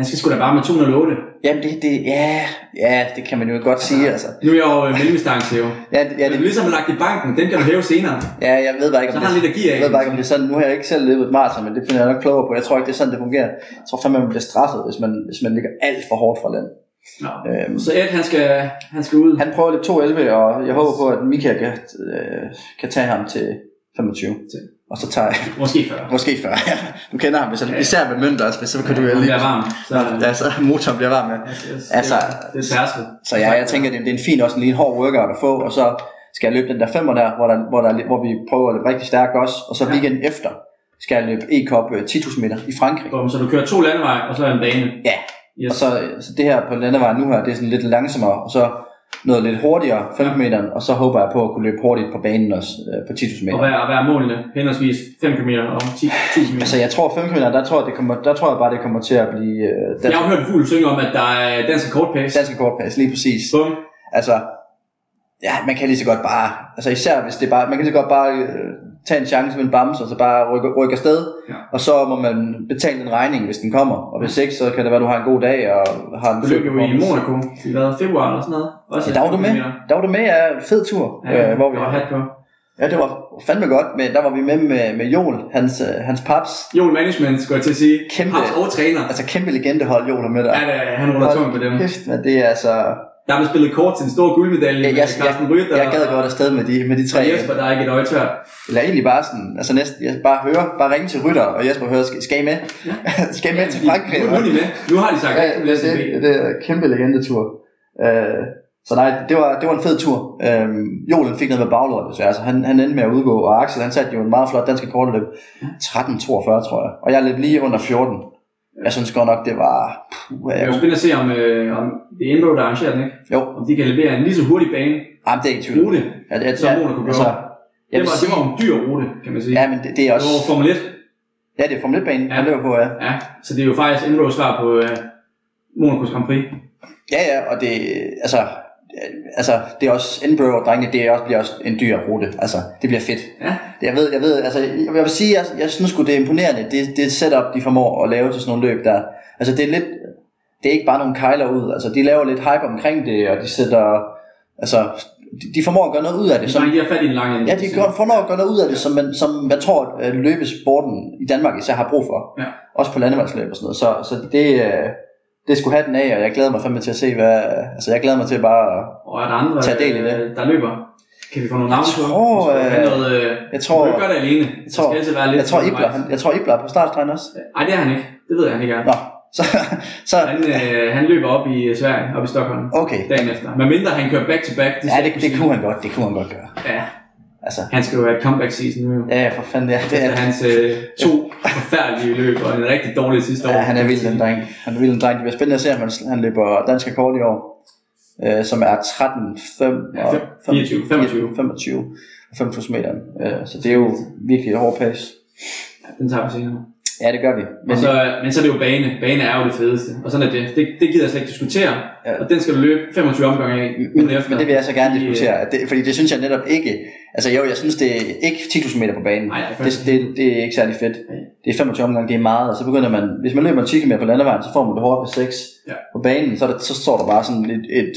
[SPEAKER 5] Han skal sgu da bare med 208.
[SPEAKER 4] jamen, det, det, ja, ja, det kan man jo godt sige, altså.
[SPEAKER 5] Nu er jeg jo øh, mellemdistance jo.
[SPEAKER 4] Ja, det- ja,
[SPEAKER 5] Ja, det
[SPEAKER 4] det,
[SPEAKER 5] er ligesom lagt i banken, den kan du hæve senere.
[SPEAKER 4] Ja, jeg ved bare ikke,
[SPEAKER 5] Så
[SPEAKER 4] om
[SPEAKER 5] har han
[SPEAKER 4] det,
[SPEAKER 5] lidt at give af.
[SPEAKER 4] jeg ved bare ikke, om det er sådan. Nu har jeg ikke selv løbet et maraton, men det finder jeg nok klogere på. Jeg tror ikke, det er sådan, det fungerer. Jeg tror fandme, man bliver straffet, hvis man, hvis man ligger alt for hårdt fra land.
[SPEAKER 5] Nå.
[SPEAKER 4] Øhm,
[SPEAKER 5] Så Ed, han skal, han skal ud.
[SPEAKER 4] han prøver at løbe 2.11, og jeg håber på, at Mika kan, øh, kan tage ham til 25. Og så tager jeg
[SPEAKER 5] Måske før.
[SPEAKER 4] måske 40. du kender ham, hvis han, især med mønters, så kan du jo
[SPEAKER 5] Han
[SPEAKER 4] lige...
[SPEAKER 5] bliver varm. Så,
[SPEAKER 4] Ja, så motoren bliver varm med. Altså,
[SPEAKER 5] det er tærsket.
[SPEAKER 4] Så ja, jeg tænker, det, det er en fin, også en lige en hård workout at få, og så skal jeg løbe den der femmer der, hvor, der, hvor, der, hvor vi prøver at løbe rigtig stærkt også, og så
[SPEAKER 5] Ja.
[SPEAKER 4] weekenden efter skal jeg løbe e-cup øh, 10.000 meter i Frankrig.
[SPEAKER 5] Bum, så du kører to landeveje, og så en bane.
[SPEAKER 4] Ja,
[SPEAKER 5] Yes.
[SPEAKER 4] og så, så det her på landevejen nu her, det er sådan lidt langsommere, og så noget lidt hurtigere, 15 meter, og så håber jeg på at kunne løbe hurtigt på banen også øh, på 10.000
[SPEAKER 5] Og
[SPEAKER 4] meter.
[SPEAKER 5] hvad, og hvad er målene? Henholdsvis 5 km og 10, 10 km.
[SPEAKER 4] Altså jeg tror 5 km, der tror jeg, det kommer, der tror jeg bare, det kommer til at blive øh,
[SPEAKER 5] Jeg
[SPEAKER 4] dansk,
[SPEAKER 5] har jo hørt Fugl synge om, at der er dansk kortpace.
[SPEAKER 4] danske kortpas, lige præcis.
[SPEAKER 5] Bum.
[SPEAKER 4] Altså, ja, man kan lige så godt bare, altså især hvis det er bare, man kan lige så godt bare øh, tage en chance med en bamse, og så bare rykke, rykke afsted,
[SPEAKER 5] Ja.
[SPEAKER 4] ja. og så må man betale en regning, hvis den kommer, og hvis ikke, så kan det være, du har en god dag, og har en
[SPEAKER 5] Du løb jo i Monaco i hvad, februar eller sådan noget. Også
[SPEAKER 4] Ja, der var du med, der var du med, ja, fed tur,
[SPEAKER 5] Ja,
[SPEAKER 4] øh, hvor vi,
[SPEAKER 5] der var hat på.
[SPEAKER 4] ja, det var fandme godt, men der var vi med med, med Joel, hans, øh, hans paps,
[SPEAKER 5] Joel Management, skulle jeg til at sige.
[SPEAKER 4] Kæmpe.
[SPEAKER 5] Haps og træner.
[SPEAKER 4] altså kæmpe legendehold, Joel er med der.
[SPEAKER 5] Ja, da, han ruller tungt på dem.
[SPEAKER 4] Kæft, men det er altså,
[SPEAKER 5] Der blev spillet kort til en stor guldmedalje
[SPEAKER 4] jeg,
[SPEAKER 5] med
[SPEAKER 4] jeg,
[SPEAKER 5] Carsten
[SPEAKER 4] jeg,
[SPEAKER 5] Rytter.
[SPEAKER 4] jeg gad godt afsted med de, med de tre.
[SPEAKER 5] Og Jesper, der er ikke et øje tør.
[SPEAKER 4] Eller egentlig bare sådan, altså næsten, jeg bare høre, bare ringe til Rytter, og Jesper hører, skal, skal I med? skal I med til Frankrig?
[SPEAKER 5] Nu, nu er de med. Nu har de sagt,
[SPEAKER 4] ja,
[SPEAKER 5] at de bliver
[SPEAKER 4] det, det, det er en kæmpe legendetur. Øh, så nej, det var, det var en fed tur. Øh, Jolen fik noget med baglåret, desværre, så han, han endte med at udgå, og Axel, han satte jo en meget flot dansk rekordløb, 13.42, tror jeg, og jeg løb lige under 14. Jeg synes godt nok, det var... Puh,
[SPEAKER 5] Det er jo
[SPEAKER 4] jeg,
[SPEAKER 5] spændende at se, om, øh, om det er Indro, der arrangerer den, ikke?
[SPEAKER 4] jo,
[SPEAKER 5] Om de kan levere en lige så hurtig bane.
[SPEAKER 4] jamen, det er ikke tvivl. om.
[SPEAKER 5] Rute.
[SPEAKER 4] Ja, det er-
[SPEAKER 5] Som Monaco gjorde.
[SPEAKER 4] altså,
[SPEAKER 5] Det var, det var en dyr rute, kan man sige.
[SPEAKER 4] Ja, men det, det er
[SPEAKER 5] Det
[SPEAKER 4] også...
[SPEAKER 5] var Formel 1.
[SPEAKER 4] Ja, det er Formel 1-banen,
[SPEAKER 5] Ja.
[SPEAKER 4] han løber på, ja.
[SPEAKER 5] Ja, så det er jo faktisk endnu svar på øh, Monaco's Grand Prix.
[SPEAKER 4] Ja, ja, og det... Altså, øh, altså, det er også Edinburgh, drengene, det er også, bliver også en dyr rute. Altså, det bliver fedt.
[SPEAKER 5] Ja,
[SPEAKER 4] Jeg ved, jeg ved, altså, jeg jeg vil sige, jeg, jeg synes sgu, det er imponerende, det, det setup, de formår at lave til sådan nogle løb der. Altså, det er lidt, det er ikke bare nogle kejler ud, altså, de laver lidt hype omkring det, og de sætter, altså, de, de formår at gøre noget ud af det,
[SPEAKER 5] det
[SPEAKER 4] som,
[SPEAKER 5] er de har fat i en lang ende.
[SPEAKER 4] ja, de gør, formår at gøre noget ud af det, som man, som man tror, at løbesporten i Danmark især har brug for.
[SPEAKER 5] Ja.
[SPEAKER 4] Også på landevejsløb og sådan noget, så, så det, øh, det skulle have den af, og jeg glæder mig fandme til at se, hvad, altså, jeg glæder mig til bare, at-
[SPEAKER 5] Og er der andre,
[SPEAKER 4] Tag del i det.
[SPEAKER 5] øh, der løber? Kan vi få nogle navne på?
[SPEAKER 4] tror,
[SPEAKER 5] Skal vi have
[SPEAKER 4] øh,
[SPEAKER 5] noget, øh,
[SPEAKER 4] jeg tror,
[SPEAKER 5] Du kan ikke gøre det alene.
[SPEAKER 4] jeg tror,
[SPEAKER 5] det skal altid være lidt
[SPEAKER 4] jeg tror, Ibler,
[SPEAKER 5] undervejs.
[SPEAKER 4] han, jeg tror, Ibler er på startstregen også.
[SPEAKER 5] Ej, det er han ikke. Det ved jeg, han ikke er.
[SPEAKER 4] Nå, så, så,
[SPEAKER 5] Han, øh, han løber op i øh, Sverige, op i Stockholm,
[SPEAKER 4] okay,
[SPEAKER 5] dagen efter. Men mindre han kører back-to-back.
[SPEAKER 4] Ja, det, det kunne han godt, det kunne han godt gøre.
[SPEAKER 5] Ja,
[SPEAKER 4] Altså,
[SPEAKER 5] han skal jo have et comeback-season nu.
[SPEAKER 4] ja, ja, for fanden, ja, det er
[SPEAKER 5] Efter hans øh, to forfærdelige løb og en rigtig dårlig sidste år.
[SPEAKER 4] Ja, han er vild, den dreng. Han er vild, den dreng. Det bliver spændende at se, om han, han løber dansk rekord i år, øh, som er 13, 5
[SPEAKER 5] Ja,
[SPEAKER 4] og
[SPEAKER 5] fem- 24, 25.
[SPEAKER 4] 25 og 5.000 meter. Øh, så det er jo virkelig et hårdt pace.
[SPEAKER 5] Den tager vi senere.
[SPEAKER 4] Ja, det gør vi. Men
[SPEAKER 5] Men så, men så er det jo bane. Bane er jo det fedeste. Og sådan er det. Det, det gider jeg slet ikke diskutere.
[SPEAKER 4] Ja.
[SPEAKER 5] Og den skal du løbe 25 omgange af.
[SPEAKER 4] men,
[SPEAKER 5] ugen efter.
[SPEAKER 4] men det vil jeg så gerne diskutere, at det, fordi det synes jeg netop ikke, altså jo, jeg synes det er ikke 10.000 meter på banen,
[SPEAKER 5] Nej, nej,
[SPEAKER 4] det,
[SPEAKER 5] faktisk.
[SPEAKER 4] det, det er ikke særlig fedt,
[SPEAKER 5] Nej.
[SPEAKER 4] det er 25 omgange, det er meget, og så begynder man, hvis man løber en 10 km på landevejen, så får man det hårdt på 6,
[SPEAKER 5] Ja.
[SPEAKER 4] på banen, så, er der, så står der bare sådan et, et,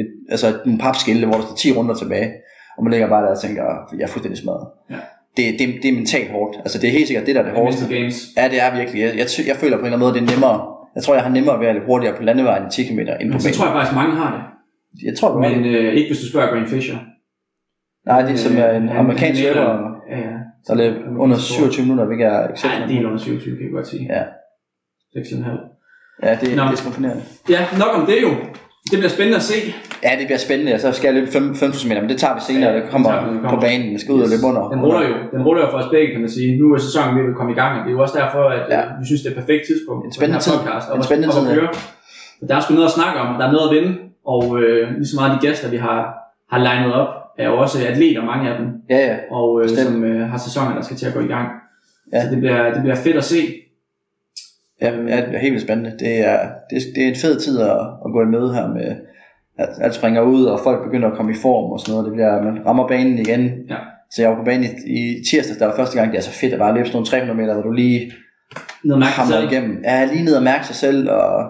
[SPEAKER 4] et altså en papskilte, hvor der står 10 runder tilbage, og man ligger bare der og tænker, jeg er fuldstændig smadret.
[SPEAKER 5] Ja.
[SPEAKER 4] Det, det, det er mentalt hårdt, altså det er helt sikkert det, der er det hårdeste.
[SPEAKER 5] Mental Games.
[SPEAKER 4] Ja, det er virkelig, jeg, jeg, ty- jeg føler på en eller anden måde, det er nemmere, jeg tror, jeg har nemmere ved at løbe hurtigere på landevejen i 10 km end på
[SPEAKER 5] Men så
[SPEAKER 4] banen.
[SPEAKER 5] tror jeg faktisk, mange har det.
[SPEAKER 4] Jeg tror, det var-
[SPEAKER 5] Men øh, ikke hvis du spørger Grant Fisher.
[SPEAKER 4] Nej, det er som er en
[SPEAKER 5] Øh,
[SPEAKER 4] amerikansk
[SPEAKER 5] han- han-
[SPEAKER 4] løber,
[SPEAKER 5] Ja, ja.
[SPEAKER 4] der løb under 27 minutter, hvilket er
[SPEAKER 5] Ja, en
[SPEAKER 4] exceptionelt.
[SPEAKER 5] del under 27, kan jeg godt sige.
[SPEAKER 4] Ja.
[SPEAKER 5] 6,5.
[SPEAKER 4] Ja, det,
[SPEAKER 5] Nå.
[SPEAKER 4] det er sgu imponerende.
[SPEAKER 5] Ja, nok om det jo. Det bliver spændende at se.
[SPEAKER 4] Ja, det bliver spændende, og så skal jeg løbe 5 5.000 meter, men det tager vi senere,
[SPEAKER 5] Ja,
[SPEAKER 4] det kommer,
[SPEAKER 5] det tager vi, det
[SPEAKER 4] på
[SPEAKER 5] kommer.
[SPEAKER 4] banen. Jeg skal ud og løbe under.
[SPEAKER 5] Den ruller jo. Den ruller jo for os begge, kan man sige. Nu er sæsonen ved at komme i gang, og det er jo også derfor, at
[SPEAKER 4] Ja.
[SPEAKER 5] ja. vi synes, det er et perfekt tidspunkt.
[SPEAKER 4] En spændende
[SPEAKER 5] for den her
[SPEAKER 4] tid.
[SPEAKER 5] podcast, og
[SPEAKER 4] En
[SPEAKER 5] at-
[SPEAKER 4] spændende
[SPEAKER 5] og at
[SPEAKER 4] tid, ja.
[SPEAKER 5] køre. Men Der er sgu noget at snakke om, og der er noget at vinde, og øh, lige så meget de gæster, vi har, har legnet op, er jo også atleter, mange af dem,
[SPEAKER 4] Ja, ja.
[SPEAKER 5] og øh,
[SPEAKER 4] Bestemt.
[SPEAKER 5] som øh, har sæsoner, der skal til at gå i gang.
[SPEAKER 4] Ja.
[SPEAKER 5] Så det bliver, det bliver fedt at se. Øh,
[SPEAKER 4] Ja, ja, det bliver helt vildt spændende. Det er, det, er- det er en fed tid at, at gå i møde her med, at alt springer ud, og folk begynder at komme i form og sådan noget. Det bliver, man rammer banen igen.
[SPEAKER 5] Ja.
[SPEAKER 4] Så jeg var på banen i, i tirsdags, der var første gang, det er så fedt at bare løbe sådan nogle 300 meter, hvor du lige
[SPEAKER 5] Noget mærke
[SPEAKER 4] hamrer igennem. Ja, lige ned og mærke sig selv, og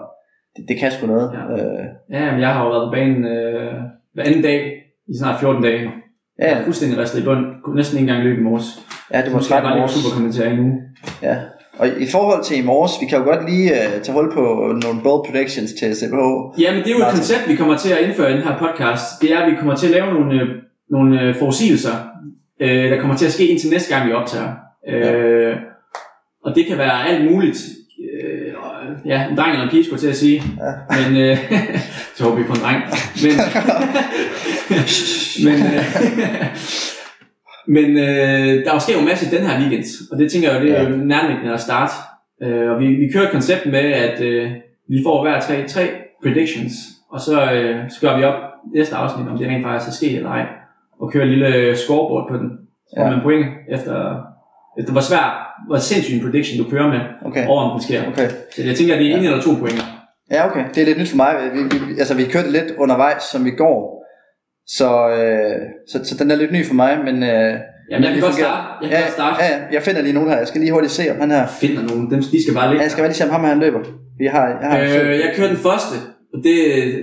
[SPEAKER 4] det, det kan sgu noget.
[SPEAKER 5] Ja.
[SPEAKER 4] Øh,
[SPEAKER 5] Ja, men jeg har jo været på banen øh, hver anden dag i snart 14 dage.
[SPEAKER 4] ja,
[SPEAKER 5] Jeg er fuldstændig ristet i bund. Kunne næsten ikke engang løbe i morges.
[SPEAKER 4] ja, det var
[SPEAKER 5] Nu skal jeg
[SPEAKER 4] 13
[SPEAKER 5] bare lige
[SPEAKER 4] års.
[SPEAKER 5] superkommentere nu.
[SPEAKER 4] Ja. Og i forhold til i morges, vi kan jo godt lige uh, tage hul på nogle bold predictions til CBH.
[SPEAKER 5] Jamen, det er jo et
[SPEAKER 4] Martin.
[SPEAKER 5] koncept, vi kommer til at indføre i den her podcast. Det er, at vi kommer til at lave nogle, øh, nogle øh, forudsigelser, øh, der kommer til at ske indtil næste gang, vi optager. Øh, og det kan være alt muligt. Øh, og, ja, en dreng eller en pige, skulle jeg til at sige.
[SPEAKER 4] Ja.
[SPEAKER 5] Men, øh, så håber vi på en dreng. Men, men, øh, men øh, der sker jo en masse i den her weekend, og det tænker jeg jo, det er jo nærmest at starte. Øh, og vi, vi kører et koncept med, at øh, vi får hver tre, tre predictions, og så, øh, så gør vi op næste afsnit, om det rent faktisk er sket eller ej, og kører et lille scoreboard på den. Så får
[SPEAKER 4] Ja.
[SPEAKER 5] ja. man point efter, efter hvor svær, hvor sindssyg en prediction du kører med,
[SPEAKER 4] Okay.
[SPEAKER 5] over om den sker.
[SPEAKER 4] Okay.
[SPEAKER 5] Så jeg tænker, at det er en eller to point.
[SPEAKER 4] Ja, okay. Det er lidt nyt for mig. Vi, vi, altså, vi kørte lidt undervejs, som vi går. Så, øh, så, så den er lidt ny for mig, men... Øh,
[SPEAKER 5] Jamen, jeg kan godt
[SPEAKER 4] det fungerer.
[SPEAKER 5] starte. Jeg kan
[SPEAKER 4] ja,
[SPEAKER 5] godt starte.
[SPEAKER 4] ja, ja, jeg finder lige nogen her. Jeg skal lige hurtigt se, om han her...
[SPEAKER 5] Finder nogen. Dem, de skal bare
[SPEAKER 4] Ja,
[SPEAKER 5] ligge.
[SPEAKER 4] jeg skal bare lige se, om ham her, han løber. Vi har, jeg har
[SPEAKER 5] Øh, jeg kører den første, og det,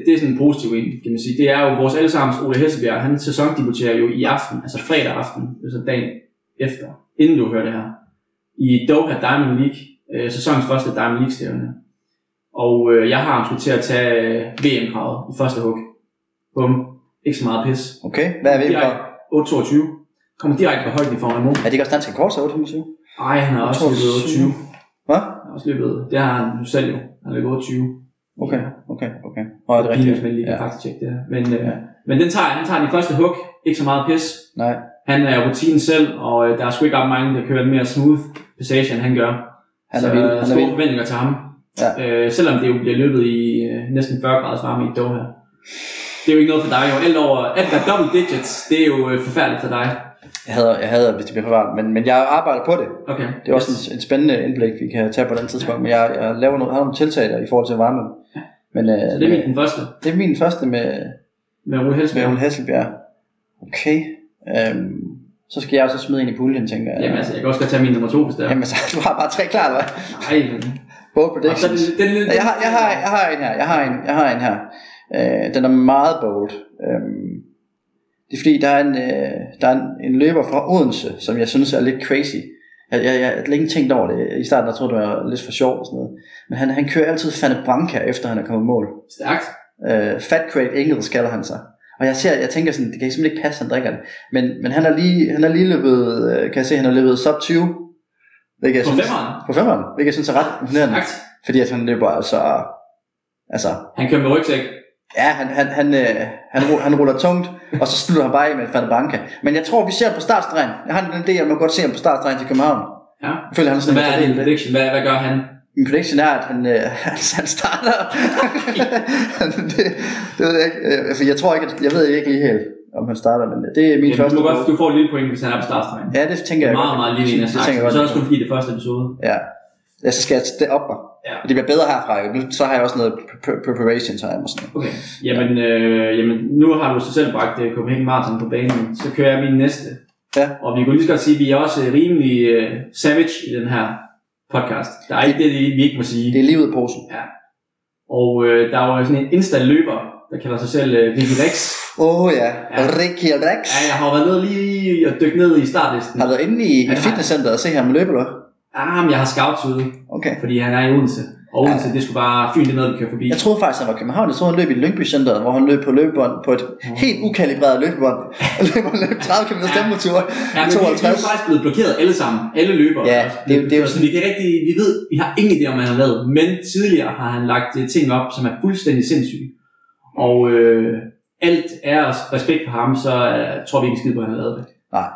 [SPEAKER 5] det er sådan en positiv en, kan man sige. Det er jo vores allesammens Ole Hessebjerg, han sæsondebuterer jo i aften, altså fredag aften, altså dagen efter, inden du hører det her, i Doha Diamond League, øh, sæsonens første Diamond League-stævne. Og øh, jeg har ham skulle til at tage øh, VM-kravet i første hug. Bum. Ikke så meget pis.
[SPEAKER 4] Okay, hvad er vi på?
[SPEAKER 5] Direkte 8.22. Kommer direkte på højden i Formel Mo.
[SPEAKER 4] Er det ikke også dansk rekord, så 825?
[SPEAKER 5] Ej, han har også
[SPEAKER 4] 8.22.
[SPEAKER 5] løbet 28.
[SPEAKER 4] Hvad?
[SPEAKER 5] Han har også løbet, det har han jo selv jo. Han har løbet 28.
[SPEAKER 4] Okay, okay, okay. Nå, er det
[SPEAKER 5] det
[SPEAKER 4] rigtigt?
[SPEAKER 5] men lige kan
[SPEAKER 4] Ja.
[SPEAKER 5] faktisk tjekke det her. Men, øh, men den tager, han tager den i første hug. Ikke så meget pis.
[SPEAKER 4] Nej.
[SPEAKER 5] Han er rutinen selv, og øh, der er sgu ikke ret mange, der kører en mere smooth passage, end han gør.
[SPEAKER 4] Han er
[SPEAKER 5] så
[SPEAKER 4] vild.
[SPEAKER 5] øh,
[SPEAKER 4] Han er
[SPEAKER 5] store
[SPEAKER 4] vild.
[SPEAKER 5] forventninger til ham.
[SPEAKER 4] Ja.
[SPEAKER 5] Øh, selvom det jo bliver løbet i øh, næsten 40 graders varme i Doha. Det er jo ikke noget for dig, jo. Alt, over, alt der er double digits, det er jo øh, forfærdeligt for dig.
[SPEAKER 4] Jeg hader, jeg hader hvis det bliver for varmt, men, men jeg arbejder på det.
[SPEAKER 5] Okay.
[SPEAKER 4] Det er også en, en spændende indblik, vi kan tage på den tidspunkt, men jeg, jeg laver nogle, har nogle tiltag der i forhold til varme. Men, øh,
[SPEAKER 5] Så det er min den første
[SPEAKER 4] det er min første med,
[SPEAKER 5] med Ole
[SPEAKER 4] med
[SPEAKER 5] Helsberg.
[SPEAKER 4] Ole Hasselbjerg. Okay. Øhm, så skal jeg jo så smide ind i puljen, tænker jeg.
[SPEAKER 5] Jamen altså, jeg kan også godt tage min nummer to, hvis det er.
[SPEAKER 4] Jamen, så, du har bare tre klar, eller hvad?
[SPEAKER 5] Nej, men...
[SPEAKER 4] Bold
[SPEAKER 5] Og så
[SPEAKER 4] predictions.
[SPEAKER 5] den, den, den,
[SPEAKER 4] Ja, Jeg har, jeg, har, jeg har en her, jeg har en, jeg har en her. Øh, den er meget bold. Øhm, det er fordi, der er, en, øh, der er en, en løber fra Odense, som jeg synes er lidt crazy. Jeg, jeg, jeg havde længe tænkt over det. I starten jeg troede jeg, det var lidt for sjovt og sådan noget. Men han, han kører altid Fanny Branca, efter han er kommet i mål.
[SPEAKER 5] Stærkt.
[SPEAKER 4] Øh, Fat Craig Engels kalder han sig. Og jeg ser, jeg tænker sådan, det kan simpelthen ikke passe, han drikker det. Men, men han er lige, han er lige løbet, øh, kan jeg se, han har løbet sub 20. Hvilket jeg
[SPEAKER 5] På
[SPEAKER 4] synes,
[SPEAKER 5] femmeren.
[SPEAKER 4] på femmeren, hvilket jeg synes er ret imponerende.
[SPEAKER 5] Stærkt.
[SPEAKER 4] Fordi at han løber altså... Altså,
[SPEAKER 5] Han kører med rygsæk.
[SPEAKER 4] ja, han, han, han, øh, han, ru- han ruller tungt, og så slutter han bare af med en Fanabanca. Men jeg tror, vi ser ham på startstregen. Jeg har en idé, at man godt ser ham på startstregen til København.
[SPEAKER 5] Ja.
[SPEAKER 4] Jeg føler, han er
[SPEAKER 5] Så
[SPEAKER 4] sådan
[SPEAKER 5] hvad er din prediction? Hvad, hvad gør han?
[SPEAKER 4] Min prediction er, at han, øh, han starter... det, det, ved jeg ikke. Øh, For jeg tror ikke, at, jeg ved ikke lige helt, om han starter, men det er min
[SPEAKER 5] Jamen,
[SPEAKER 4] første...
[SPEAKER 5] du, må godt,
[SPEAKER 4] bud.
[SPEAKER 5] du får et lille point, hvis han er på startstregen.
[SPEAKER 4] Ja, det tænker jeg
[SPEAKER 5] meget,
[SPEAKER 4] godt.
[SPEAKER 5] meget lille en af
[SPEAKER 4] det, det tænker
[SPEAKER 5] slagsen.
[SPEAKER 4] jeg
[SPEAKER 5] Og
[SPEAKER 4] godt.
[SPEAKER 5] så også kun fordi det er første episode.
[SPEAKER 4] Ja. ja, så skal jeg det op mig.
[SPEAKER 5] Ja.
[SPEAKER 4] Det bliver bedre herfra. jo. Nu, så har jeg også noget pre- pre- preparation time og sådan noget.
[SPEAKER 5] Okay. Jamen, øh, jamen, nu har du så selv bragt øh, Copenhagen Marathon på banen. Så kører jeg min næste.
[SPEAKER 4] Ja.
[SPEAKER 5] Og vi kunne lige så godt sige, at vi er også øh, rimelig øh, savage i den her podcast. Der er ikke det, vi ikke må sige.
[SPEAKER 4] Det er livet i posen.
[SPEAKER 5] Og øh, der var sådan en Insta-løber, der kalder sig selv øh, Vicky Rex.
[SPEAKER 4] Åh oh, ja,
[SPEAKER 5] Ja.
[SPEAKER 4] Ricky Rex.
[SPEAKER 5] Ja, jeg har jo været nede lige og dykke ned i startlisten.
[SPEAKER 4] Har du været inde
[SPEAKER 5] Ja,
[SPEAKER 4] i, i
[SPEAKER 5] det har
[SPEAKER 4] fitnesscenteret og se ham løbe, eller hvad?
[SPEAKER 5] Ah, men jeg har scouts ude,
[SPEAKER 4] Okay.
[SPEAKER 5] fordi han er i Odense. Og
[SPEAKER 4] Ja.
[SPEAKER 5] Odense, det skulle bare fint ned, vi kører forbi.
[SPEAKER 4] Jeg troede faktisk, han var i København. Jeg troede, han løb i Lyngby Centeret, hvor han løb på løbebånd på et helt ukalibreret løbebånd. Og løb, og løb 30 km stemmetur
[SPEAKER 5] Mm. Ja,
[SPEAKER 4] i
[SPEAKER 5] men vi, vi er
[SPEAKER 4] 52.
[SPEAKER 5] jo faktisk blevet blokeret alle sammen. Alle løbere.
[SPEAKER 4] Ja,
[SPEAKER 5] også.
[SPEAKER 4] det er jo- det er jo
[SPEAKER 5] så vi kan ikke rigtig, vi ved, vi har ingen idé om, hvad han har lavet. Men tidligere har han lagt øh, ting op, som er fuldstændig sindssyge. Og øh, alt er os respekt for ham, så øh, tror vi ikke en skid på, at han har lavet det.
[SPEAKER 4] Nej.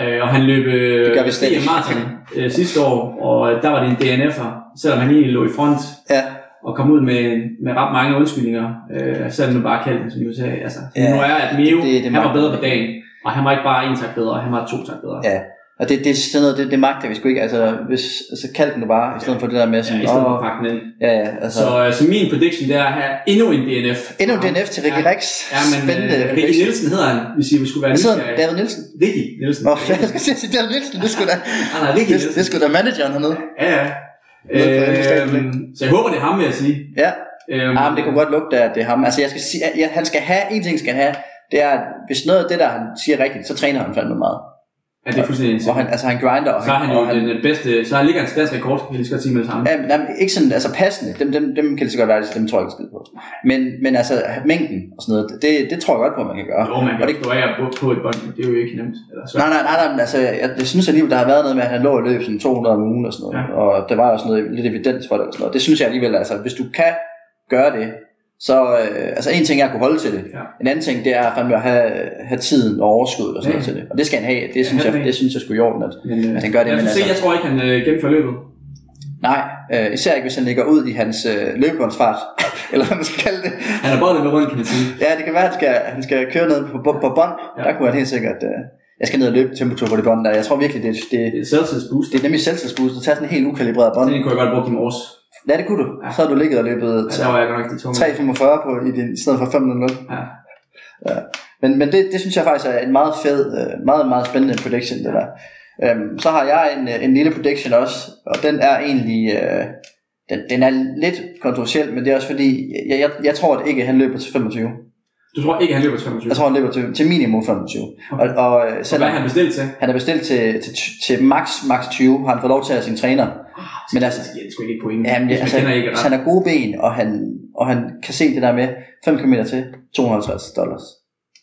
[SPEAKER 5] Øh, og han løb øh,
[SPEAKER 4] Det gør vi slet ikke.
[SPEAKER 5] Martin øh, sidste år, og øh, der var det en DNF'er, selvom han egentlig lå i front
[SPEAKER 4] Ja,
[SPEAKER 5] og kom ud med, med ret mange undskyldninger, øh, selvom man bare kaldte ham, som du sagde. Altså,
[SPEAKER 4] Ja,
[SPEAKER 5] nu er at Mio,
[SPEAKER 4] det- det er
[SPEAKER 5] han var
[SPEAKER 4] meget-
[SPEAKER 5] bedre på dagen, og han var ikke bare en tak bedre, han var to tak bedre.
[SPEAKER 4] Ja. og det, det, er sådan noget, det, det magter vi sgu ikke. Altså, hvis, altså kald den nu bare, i stedet for det der med
[SPEAKER 5] Ja,
[SPEAKER 4] sådan,
[SPEAKER 5] i stedet for
[SPEAKER 4] åh,
[SPEAKER 5] at pakke den ind.
[SPEAKER 4] ja, ja, altså.
[SPEAKER 5] Så, øh, så min prediction det er at have endnu en DNF.
[SPEAKER 4] Endnu en DNF til Ricky
[SPEAKER 5] ja.
[SPEAKER 4] Rex.
[SPEAKER 5] Ja, men
[SPEAKER 4] Spændende.
[SPEAKER 5] øh, Ricky Nielsen hedder han, hvis I skulle være
[SPEAKER 4] Hvad sidder
[SPEAKER 5] nysgerrige.
[SPEAKER 4] David Nielsen?
[SPEAKER 5] Ricky Nielsen.
[SPEAKER 4] Nå, jeg skal til at sige David Nielsen. Det skulle da,
[SPEAKER 5] Nej, nej, Ricky
[SPEAKER 4] det,
[SPEAKER 5] Nielsen.
[SPEAKER 4] det skulle da manageren hernede.
[SPEAKER 5] Ja, ja.
[SPEAKER 4] Nede på Indre
[SPEAKER 5] Øhm,
[SPEAKER 4] Statsbank.
[SPEAKER 5] så jeg håber, det er ham, vil jeg sige.
[SPEAKER 4] Ja,
[SPEAKER 5] Øhm,
[SPEAKER 4] Ja, Ah, men det kunne godt lugte, at det er ham. Altså, jeg skal sige, at jeg, han skal have, en ting skal han have, det er, at hvis noget af det, der han siger rigtigt, så træner han fandme meget.
[SPEAKER 5] Ja, det er fuldstændig
[SPEAKER 4] Og
[SPEAKER 5] sindssygt.
[SPEAKER 4] han, altså, han grinder, og
[SPEAKER 5] Så er han jo
[SPEAKER 4] og han,
[SPEAKER 5] den øh, bedste, så han ligger en dansk rekord, kan jeg lige så godt sige med det samme.
[SPEAKER 4] Ja, men, jamen, ikke sådan, altså passende, dem, dem, dem kan det så godt være, at dem tror jeg ikke skid på. Men, men altså, mængden og sådan noget, det, det tror jeg godt på, at man kan gøre.
[SPEAKER 5] Jo, man
[SPEAKER 4] Og
[SPEAKER 5] kan
[SPEAKER 4] det,
[SPEAKER 5] ikke florere på- på et bånd, men det er jo ikke nemt. Eller svært.
[SPEAKER 4] nej, nej, nej, nej, men altså, jeg, jeg synes alligevel, der har været noget med, at han lå og løb sådan 200 om ugen og sådan noget,
[SPEAKER 5] Ja.
[SPEAKER 4] ja. og der var også noget lidt evidens for det og sådan noget. Det synes jeg alligevel, altså, hvis du kan gøre det, så, øh, altså en ting er at kunne holde til det,
[SPEAKER 5] Ja.
[SPEAKER 4] En anden ting, det er fandme at have, have tiden og overskud og sådan
[SPEAKER 5] Ja.
[SPEAKER 4] noget til det. Og det skal han have. Det synes,
[SPEAKER 5] han
[SPEAKER 4] jeg,
[SPEAKER 5] er-
[SPEAKER 4] det synes jeg skulle i orden. altså. At,
[SPEAKER 5] Men, øh,
[SPEAKER 4] at han gør det,
[SPEAKER 5] lad os
[SPEAKER 4] men
[SPEAKER 5] se,
[SPEAKER 4] altså-
[SPEAKER 5] jeg tror ikke, han øh, gennemfører løbet.
[SPEAKER 4] nej, øh, især ikke hvis han ligger ud i hans øh, løbebåndsfart. eller hvad man skal kalde det.
[SPEAKER 5] Han har boldet med rundt, kan man sige.
[SPEAKER 4] Ja, det kan være, at han skal, han skal køre ned på, på, på bånd.
[SPEAKER 5] Ja.
[SPEAKER 4] Ja. Der kunne han helt sikkert... Øh, jeg skal ned og løbe tempotur på det bånd der. Jeg tror virkelig, det,
[SPEAKER 5] Det
[SPEAKER 4] det,
[SPEAKER 5] er et selvtidsboost.
[SPEAKER 4] det er nemlig selvtidsboost at tage sådan en helt ukalibreret bånd.
[SPEAKER 5] Det kunne jeg godt bruge i morges.
[SPEAKER 4] Ja, det kunne du.
[SPEAKER 5] Ja.
[SPEAKER 4] Så har du ligget og løbet
[SPEAKER 5] Ja, Altså, der var jeg godt nok de tunge.
[SPEAKER 4] 3.45 på i, din, i stedet for 5.00.
[SPEAKER 5] Ja.
[SPEAKER 4] Men, men det, det synes jeg faktisk er en meget fed, øh, meget, meget spændende prediction, det der. Øhm, så har jeg en, øh, en lille prediction også, og den er egentlig, øh, den, den er lidt kontroversiel, men det er også fordi, jeg, jeg, jeg tror at ikke, at han løber til 25.
[SPEAKER 5] Du tror ikke, han løber 25?
[SPEAKER 4] Jeg tror, han løber til, til minimum 25. Og,
[SPEAKER 5] Okay.
[SPEAKER 4] og øh,
[SPEAKER 5] Så hvad
[SPEAKER 4] selvom
[SPEAKER 5] er han bestilt til?
[SPEAKER 4] han er bestilt til, til, til max, max 20, har han fået lov til at have sin træner.
[SPEAKER 5] Men
[SPEAKER 4] Men
[SPEAKER 5] altså,
[SPEAKER 4] altså-
[SPEAKER 5] det er sgu ikke et point.
[SPEAKER 4] Jamen,
[SPEAKER 5] Hvis man
[SPEAKER 4] altså,
[SPEAKER 5] kender ikke
[SPEAKER 4] hvis
[SPEAKER 5] ret.
[SPEAKER 4] han har gode ben, og han, og han kan se det der med 5 km til 250 dollars.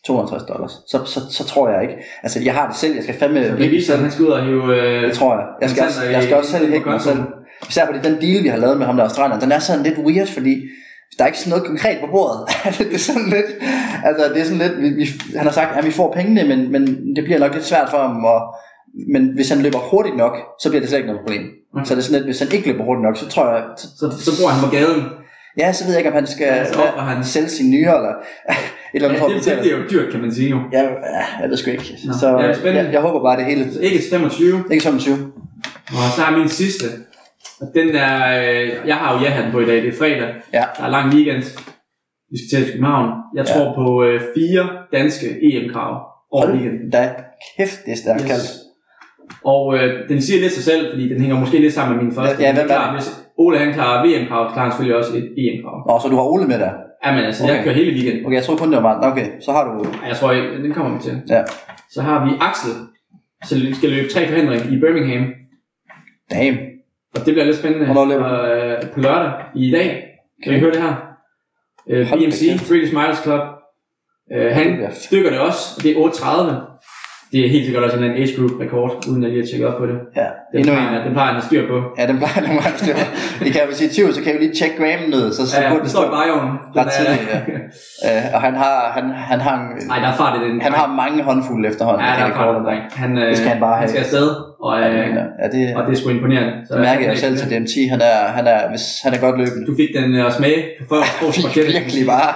[SPEAKER 4] 250 dollars. Så, så, så tror jeg ikke. Altså, jeg har det selv. Jeg skal fandme...
[SPEAKER 5] Så det viser, at han skal ud og hive... Øh,
[SPEAKER 4] Det tror jeg. Jeg skal, også, jeg skal også selv hække mig selv. Især fordi den deal, vi har lavet med ham der australier, den er sådan lidt weird, fordi der er ikke sådan noget konkret på bordet. det er sådan lidt, altså det er sådan lidt, vi, vi, han har sagt, at vi får pengene, men, men det bliver nok lidt svært for ham, og, men hvis han løber hurtigt nok, så bliver det slet ikke noget problem.
[SPEAKER 5] Okay.
[SPEAKER 4] Så det er sådan lidt, hvis han ikke løber hurtigt nok, så tror jeg, så,
[SPEAKER 5] Så, så bruger han på gaden.
[SPEAKER 4] ja, så ved jeg ikke, om han skal
[SPEAKER 5] Ja, så opper han.
[SPEAKER 4] sælge sin nye, eller eller andet
[SPEAKER 5] Ja,
[SPEAKER 4] for at
[SPEAKER 5] det, det
[SPEAKER 4] betale.
[SPEAKER 5] bliver jo dyrt, kan man sige jo.
[SPEAKER 4] Ja, ja, jeg ved sgu ikke.
[SPEAKER 5] Nå.
[SPEAKER 4] Så
[SPEAKER 5] Ja, spændende.
[SPEAKER 4] jeg, jeg, håber bare, det hele...
[SPEAKER 5] Så Altså, ikke til 25.
[SPEAKER 4] Ikke som 20.
[SPEAKER 5] Og så er min sidste. Og den er, øh, jeg har jo ja-hatten på i dag, det er fredag.
[SPEAKER 4] Ja.
[SPEAKER 5] Der er lang weekend. Vi skal til København. Jeg
[SPEAKER 4] Ja.
[SPEAKER 5] tror på øh, fire danske EM-krav over weekenden.
[SPEAKER 4] Hold da kæft, det er stærkt
[SPEAKER 5] Yes.
[SPEAKER 4] kaldt.
[SPEAKER 5] Og øh, den siger lidt sig selv, fordi den hænger måske lidt sammen med min første.
[SPEAKER 4] Ja, ja,
[SPEAKER 5] Men det er
[SPEAKER 4] hvem er
[SPEAKER 5] klart,
[SPEAKER 4] det?
[SPEAKER 5] Hvis Ole han klarer VM-krav, klarer han selvfølgelig også et EM-krav.
[SPEAKER 4] Nå, så du har Ole med dig.
[SPEAKER 5] Jamen altså, okay.
[SPEAKER 4] Okay.
[SPEAKER 5] jeg kører hele weekenden.
[SPEAKER 4] Okay, jeg tror kun, det var Martin. Okay, så har du...
[SPEAKER 5] Ej, Jeg tror ikke, den kommer vi til.
[SPEAKER 4] Ja.
[SPEAKER 5] Så har vi Axel, som skal løbe tre forhindring i Birmingham.
[SPEAKER 4] Damn.
[SPEAKER 5] Og det bliver lidt spændende
[SPEAKER 4] Hvornår løber han?
[SPEAKER 5] øh, på lørdag i dag. Kan okay. I høre det her? Øh,
[SPEAKER 4] Hold da
[SPEAKER 5] BMC,
[SPEAKER 4] kæft.
[SPEAKER 5] British Miles Club. Øh, han
[SPEAKER 4] Det bliver-
[SPEAKER 5] dykker det også, og det er 8.30. Det er helt sikkert også en eller anden age group rekord, uden at lige har tjekket op på det.
[SPEAKER 4] Ja,
[SPEAKER 5] Den
[SPEAKER 4] endnu
[SPEAKER 5] plejer,
[SPEAKER 4] en.
[SPEAKER 5] han- den plejer han at styr på.
[SPEAKER 4] Ja, den plejer nogle gange at stå. Det kan vi sige 20, så kan vi lige tjekke Graham ned, så, så
[SPEAKER 5] Ja,
[SPEAKER 4] ja,
[SPEAKER 5] ja,
[SPEAKER 4] burde
[SPEAKER 5] den
[SPEAKER 4] det
[SPEAKER 5] står
[SPEAKER 4] stå.
[SPEAKER 5] i barjorden.
[SPEAKER 4] ret tidligt, ja. Øh, og han har, han, han har, en,
[SPEAKER 5] Nej, der er fart i den.
[SPEAKER 4] han har mange håndfulde efterhånden.
[SPEAKER 5] Ja,
[SPEAKER 4] af
[SPEAKER 5] der er fart i
[SPEAKER 4] rekorder.
[SPEAKER 5] den. dreng. Han, øh,
[SPEAKER 4] Det skal han bare
[SPEAKER 5] han
[SPEAKER 4] have.
[SPEAKER 5] skal afsted, og,
[SPEAKER 4] Ja, det
[SPEAKER 5] øh,
[SPEAKER 4] mener jeg. ja, det,
[SPEAKER 5] og det er sgu imponerende.
[SPEAKER 4] det mærker jeg selv til DMT. Han er, han er, hvis han er godt løbende.
[SPEAKER 5] Du fik den øh, at smage på før.
[SPEAKER 4] Fik virkelig bare,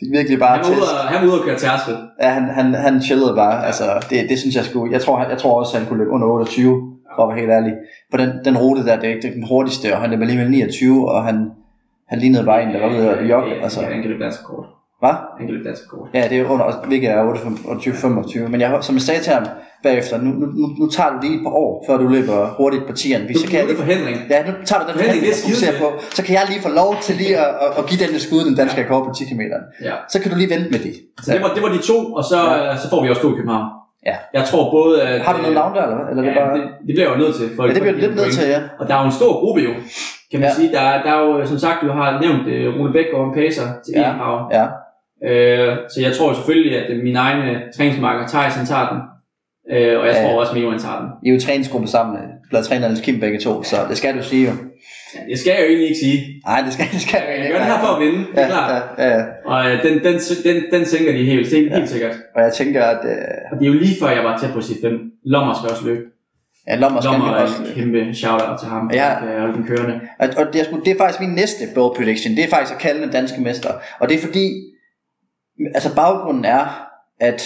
[SPEAKER 4] fik virkelig bare
[SPEAKER 5] Han var ude
[SPEAKER 4] test.
[SPEAKER 5] og, han var ude og køre tærskel.
[SPEAKER 4] Ja, han, han, han chillede bare. Altså, det, det synes jeg skulle. Jeg tror, han, jeg tror også, han kunne løbe under 28, for at være helt ærlig. På den, den rute der, det er ikke den hurtigste, og han løb alligevel 29, og han, han lignede bare en, der var ved at jogge. Altså,
[SPEAKER 5] Øh, Ja, han kan løbe dansk kort.
[SPEAKER 4] hvad?
[SPEAKER 5] Han kan løbe dansk kort.
[SPEAKER 4] Ja, det er under, hvilket er 28-25. Men jeg, som jeg sagde til ham bagefter, nu, nu, nu, nu tager du lige et par år, før du løber hurtigt på 10'eren.
[SPEAKER 5] Du
[SPEAKER 4] Hvis så
[SPEAKER 5] kan
[SPEAKER 4] kan jeg
[SPEAKER 5] det
[SPEAKER 4] lige,
[SPEAKER 5] forhindring.
[SPEAKER 4] ja, nu tager du den
[SPEAKER 5] Men det er
[SPEAKER 4] forhandling, jeg
[SPEAKER 5] skide
[SPEAKER 4] fokuserer på. Så kan jeg lige få lov til lige at, at, at give den et skud, den danske rekord på 10 km.
[SPEAKER 5] Ja.
[SPEAKER 4] Så kan du lige vente med det.
[SPEAKER 5] Så det var, det var de to, og så,
[SPEAKER 4] Ja.
[SPEAKER 5] øh, så får vi også to i København.
[SPEAKER 4] Ja.
[SPEAKER 5] Jeg tror både... At, øh,
[SPEAKER 4] Har du noget navn der, eller hvad? Eller er
[SPEAKER 5] Ja,
[SPEAKER 4] det bare...
[SPEAKER 5] det, det bliver jeg jo nødt til. For
[SPEAKER 4] Ja, det bliver du lidt nødt til, ja.
[SPEAKER 5] Og der er jo en stor gruppe jo, kan man
[SPEAKER 4] Ja.
[SPEAKER 5] ja. sige. Der, er- der er jo, som sagt, du har nævnt øh, Rune Bækgaard og Pacer til
[SPEAKER 4] Ja.
[SPEAKER 5] ja. Egenhavn.
[SPEAKER 4] Ja.
[SPEAKER 5] Øh, så jeg tror selvfølgelig, at øh, min egen øh, træningsmarker, Thijs, han tager den. Øh, og jeg
[SPEAKER 4] Ja.
[SPEAKER 5] tror også, at Mio, han tager den.
[SPEAKER 4] I er jo træningsgruppe sammen, blevet træner Niels Kim begge to, så det skal du sige jo.
[SPEAKER 5] Ja, det skal jeg jo egentlig ikke sige.
[SPEAKER 4] Nej, det skal, det skal
[SPEAKER 5] Jeg gør det her for at vinde, det
[SPEAKER 4] Ja,
[SPEAKER 5] er klart.
[SPEAKER 4] ja, ja, ja.
[SPEAKER 5] Og øh, den, den, den, den sænker de helt, helt, helt sikkert.
[SPEAKER 4] Og jeg tænker, at øh,
[SPEAKER 5] Og det er jo lige før, jeg var tæt på at sige 5. Lommer skal også løbe.
[SPEAKER 4] ja, Lommer skal
[SPEAKER 5] Lommer
[SPEAKER 4] vi
[SPEAKER 5] er
[SPEAKER 4] også.
[SPEAKER 5] et kæmpe shout-out til ham, for
[SPEAKER 4] Ja.
[SPEAKER 5] at øh, holde den kørende.
[SPEAKER 4] Og, og det, er, sgu- det er faktisk min næste bold prediction, det er faktisk at kalde den danske mester. Og det er fordi, altså baggrunden er, at,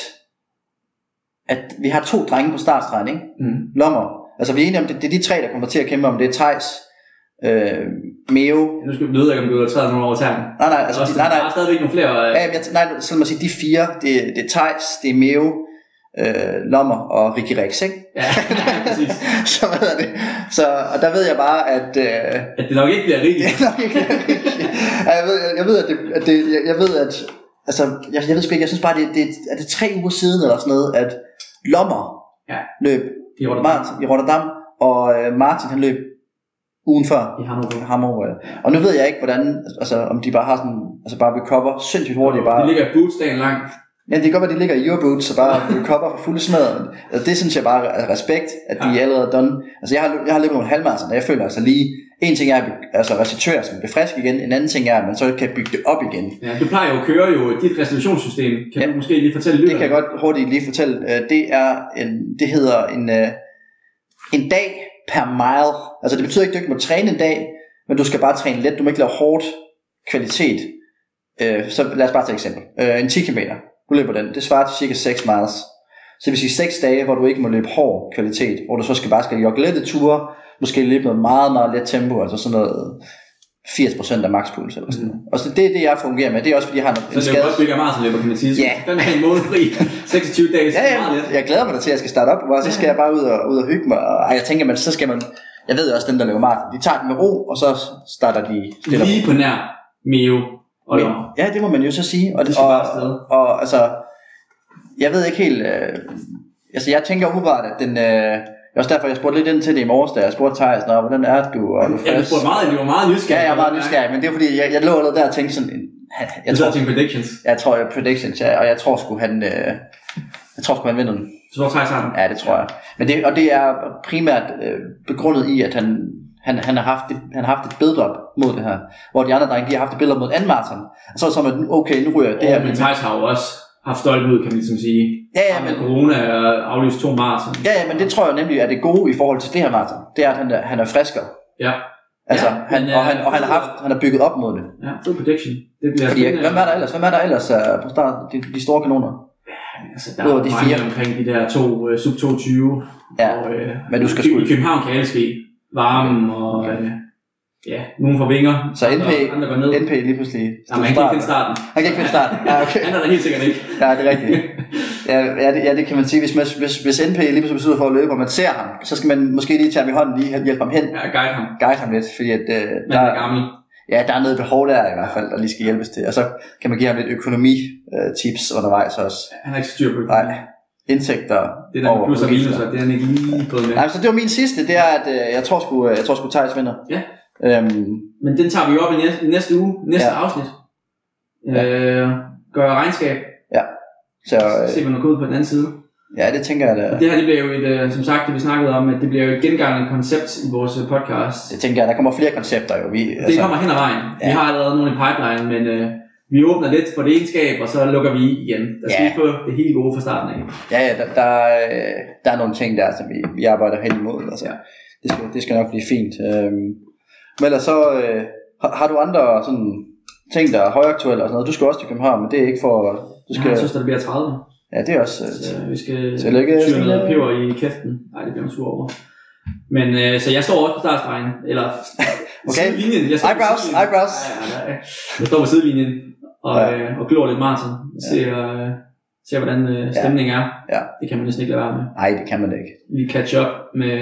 [SPEAKER 4] at vi har to drenge på startstregen, ikke?
[SPEAKER 5] Mm.
[SPEAKER 4] Lommer. Altså vi er enige om, det, det er de tre, der kommer til at kæmpe om. Det er Tejs, øh, Meo.
[SPEAKER 5] Nu skal vi vide, om du har taget nogle over tæren.
[SPEAKER 4] Nej, nej, altså,
[SPEAKER 5] Altså,
[SPEAKER 4] de, nej, nej,
[SPEAKER 5] Der er stadigvæk nogle flere. Øh,
[SPEAKER 4] Ja, jamen, jeg, t- nej, så lad mig sige, de fire, det, er- det er Tejs, det er Meo, øh, Lommer og Ricky Rex, ikke?
[SPEAKER 5] ja, præcis.
[SPEAKER 4] så hvad hedder det? Så, og der ved jeg bare, at... Øh,
[SPEAKER 5] At det nok ikke bliver
[SPEAKER 4] det
[SPEAKER 5] rigtigt.
[SPEAKER 4] er nok ikke Ej, jeg, ved, jeg ved, at det... At det jeg, jeg ved, at... Altså, jeg, jeg ved sgu ikke, jeg synes bare, det, det er det tre uger siden eller sådan noget, at Lommer
[SPEAKER 5] Ja.
[SPEAKER 4] løb
[SPEAKER 5] Det er Rotterdam.
[SPEAKER 4] Martin, i Rotterdam, og øh, Martin han løb ugen før
[SPEAKER 5] I har nogle
[SPEAKER 4] ham over. ja. Og nu ved jeg ikke, hvordan, altså om de bare har sådan, altså bare recover sindssygt hurtigt. Bare,
[SPEAKER 5] Det ligger i boots dagen lang.
[SPEAKER 4] Ja, det kan godt være, de ligger i Euroboots så bare recover for fulde smadret. Altså, det synes jeg bare er respekt, at de er allerede done. Altså, jeg har, lø- jeg har løbet nogle halvmarathon, og jeg føler altså lige... En ting er at be- altså restituere, så man bliver frisk igen. En anden ting er, at man så kan bygge det op igen.
[SPEAKER 5] Ja, du plejer jo at køre jo dit restitutionssystem. Kan
[SPEAKER 4] Ja.
[SPEAKER 5] du måske lige fortælle
[SPEAKER 4] Det
[SPEAKER 5] lytterne?
[SPEAKER 4] kan jeg godt hurtigt lige fortælle. Øh, Det er en, det hedder en, øh, en dag per mile. Altså det betyder ikke, at du ikke må træne en dag, men du skal bare træne let. Du må ikke lave hårdt kvalitet. Øh, Så lad os bare tage et eksempel. Øh, En 10 km, du løber den. Det svarer til cirka 6 miles. Så det vil sige 6 dage, hvor du ikke må løbe hård kvalitet, hvor du så skal bare skal jogge lette ture, måske løbe noget meget, meget let tempo, altså sådan noget 80% af makspuls eller sådan noget. Og så det er det, jeg fungerer med. Det er også, fordi jeg har en,
[SPEAKER 5] Mm. Så det er jo også bygger marsenløber, kan man sige. Så
[SPEAKER 4] Ja.
[SPEAKER 5] den er en måned fri. 26 dage, så
[SPEAKER 4] Ja,
[SPEAKER 5] er meget
[SPEAKER 4] ja,
[SPEAKER 5] lidt.
[SPEAKER 4] jeg glæder mig da til, at jeg skal starte op, og så skal jeg bare ud og, ud og hygge mig. Og ej, jeg tænker, man, så skal man... Jeg ved også, dem, der løber maraton, de tager den med ro, og så starter de stille og
[SPEAKER 5] Lige på nær Mio og
[SPEAKER 4] roligt.
[SPEAKER 5] Lommer.
[SPEAKER 4] Ja, det må man jo så sige. Og,
[SPEAKER 5] Det skal
[SPEAKER 4] og,
[SPEAKER 5] bare afsted.
[SPEAKER 4] og altså, jeg ved ikke helt... Øh, altså, jeg tænker umiddelbart, at den... Øh, det er også derfor, jeg spurgte lidt ind til det i morges, da jeg spurgte Thijs, "Nå, hvordan er du? Og er du
[SPEAKER 5] Ja, du
[SPEAKER 4] frisk?"
[SPEAKER 5] spurgte meget, du var meget nysgerrig.
[SPEAKER 4] Ja, jeg er meget nysgerrig, men det er fordi, jeg, jeg lå allerede der og tænkte sådan... en-
[SPEAKER 5] Jeg
[SPEAKER 4] Jeg
[SPEAKER 5] tror,
[SPEAKER 4] tror,
[SPEAKER 5] til predictions.
[SPEAKER 4] jeg tror, jeg predictions, ja, og jeg tror sgu, han... Øh, jeg tror sgu, han vinder den.
[SPEAKER 5] Så tror Thijs har den.
[SPEAKER 4] Ja, det tror jeg. Men det, og det er primært øh, begrundet i, at han, han, han, har haft et, han har haft et build-up mod det her. Hvor de andre drenge, de har haft et build-up mod anden maraton. Og så er det som, at nu- okay, nu ryger jeg det her.
[SPEAKER 5] Ja, men Thijs har jo også haft stolt ud, kan man ligesom sige.
[SPEAKER 4] ja, ja,
[SPEAKER 5] Ja,
[SPEAKER 4] men,
[SPEAKER 5] men... Corona og aflyst to maraton.
[SPEAKER 4] ja, ja, men det tror jeg nemlig er det gode i forhold til det her maraton. Det er, at han er, han er friskere.
[SPEAKER 5] Ja.
[SPEAKER 4] Altså,
[SPEAKER 5] Ja,
[SPEAKER 4] ja, han,
[SPEAKER 5] men,
[SPEAKER 4] og, han,
[SPEAKER 5] øh,
[SPEAKER 4] og han, har haft, han har bygget op mod det.
[SPEAKER 5] Ja, fed prediction. Det bliver
[SPEAKER 4] Fordi, jeg- hvem er der ellers? Hvem er der ellers øh, på start? De, de store kanoner.
[SPEAKER 5] Altså, der
[SPEAKER 4] Ud
[SPEAKER 5] er
[SPEAKER 4] over de
[SPEAKER 5] de
[SPEAKER 4] fire?
[SPEAKER 5] mange omkring de der to øh, sub 22.
[SPEAKER 4] Ja,
[SPEAKER 5] og, øh,
[SPEAKER 4] men du skal
[SPEAKER 5] i,
[SPEAKER 4] sgu-
[SPEAKER 5] I København kan alt ske. Varmen og... Øh, ja, nogen får vinger.
[SPEAKER 4] Så NP,
[SPEAKER 5] andre, andre går ned.
[SPEAKER 4] NP lige pludselig.
[SPEAKER 5] Jamen, han kan ikke
[SPEAKER 4] starter.
[SPEAKER 5] finde starten.
[SPEAKER 4] Han kan ikke finde starten. Ja, okay.
[SPEAKER 5] Han er der helt sikkert ikke.
[SPEAKER 4] Ja, det er rigtigt. Ja, ja, det, ja, det kan man sige. Hvis, man, hvis, hvis NP lige pludselig beslutter for at løbe, og man ser ham, så skal man måske lige tage ham i hånden, lige hjælpe ham hen,
[SPEAKER 5] Ja, guide ham.
[SPEAKER 4] guide ham lidt, fordi at, øh,
[SPEAKER 5] Men
[SPEAKER 4] der,
[SPEAKER 5] han er gammel.
[SPEAKER 4] ja, der er noget behov der i hvert fald, der lige skal hjælpes til. Og så kan man give ham lidt økonomi-tips undervejs også.
[SPEAKER 5] Han har ikke styr på det.
[SPEAKER 4] Nej, indtægter
[SPEAKER 5] Det der med plus og minus,
[SPEAKER 4] udgifter.
[SPEAKER 5] og det er han ikke lige fået med.
[SPEAKER 4] Nej, så det var min sidste, det er, at øh, jeg tror sgu, øh, jeg tror sgu Thijs vinder.
[SPEAKER 5] Ja.
[SPEAKER 4] Øhm,
[SPEAKER 5] Men den tager vi jo op i næste, i næste uge, næste ja. afsnit.
[SPEAKER 4] Ja.
[SPEAKER 5] Øh, gør regnskab,
[SPEAKER 4] så
[SPEAKER 5] se
[SPEAKER 4] øh,
[SPEAKER 5] hvad der går ud på den anden side.
[SPEAKER 4] ja, det tænker jeg,
[SPEAKER 5] Og
[SPEAKER 4] der,
[SPEAKER 5] det her, det bliver jo et, øh, som sagt, det vi snakkede om, at det bliver jo et gengangende koncept i vores øh, podcast.
[SPEAKER 4] det tænker jeg, der kommer flere koncepter jo. Vi, altså-
[SPEAKER 5] Det kommer hen ad vejen. Ja. Vi
[SPEAKER 4] Ja.
[SPEAKER 5] har allerede nogle i pipeline, men øh, vi åbner lidt for det egenskab, og så lukker vi i igen. Der skal
[SPEAKER 4] Ja.
[SPEAKER 5] vi få det helt gode fra starten af.
[SPEAKER 4] Ja, ja, der, der, øh, der er nogle ting der, som vi, vi arbejder hen imod. Altså.
[SPEAKER 5] Ja.
[SPEAKER 4] Det, skal, det skal nok blive fint. Øhm, men ellers så, øh, har, har du andre sådan, ting, der er højaktuelle og sådan noget? Du skal også til København, men det er ikke for... Du skal,
[SPEAKER 5] Jeg synes, der bliver 30.
[SPEAKER 4] ja, det er også...
[SPEAKER 5] Så
[SPEAKER 4] Øh,
[SPEAKER 5] vi skal
[SPEAKER 4] Tillykke,
[SPEAKER 5] tyre noget
[SPEAKER 4] Stine.
[SPEAKER 5] peber i kæften. Nej, det bliver en tur over. Men øh, så jeg står også på startstregen, eller
[SPEAKER 4] Okay.
[SPEAKER 5] sidelinjen. Jeg står på
[SPEAKER 4] Eyebrows,
[SPEAKER 5] sidelinjen.
[SPEAKER 4] eyebrows.
[SPEAKER 5] Ja, ja, ja. Jeg står på sidelinjen og,
[SPEAKER 4] Ja.
[SPEAKER 5] øh, og glor lidt maraton. Ser, øh, ser, hvordan øh, stemningen er.
[SPEAKER 4] Ja.
[SPEAKER 5] Det kan man næsten ikke lade være med.
[SPEAKER 4] nej, det kan man ikke.
[SPEAKER 5] lige catch up med,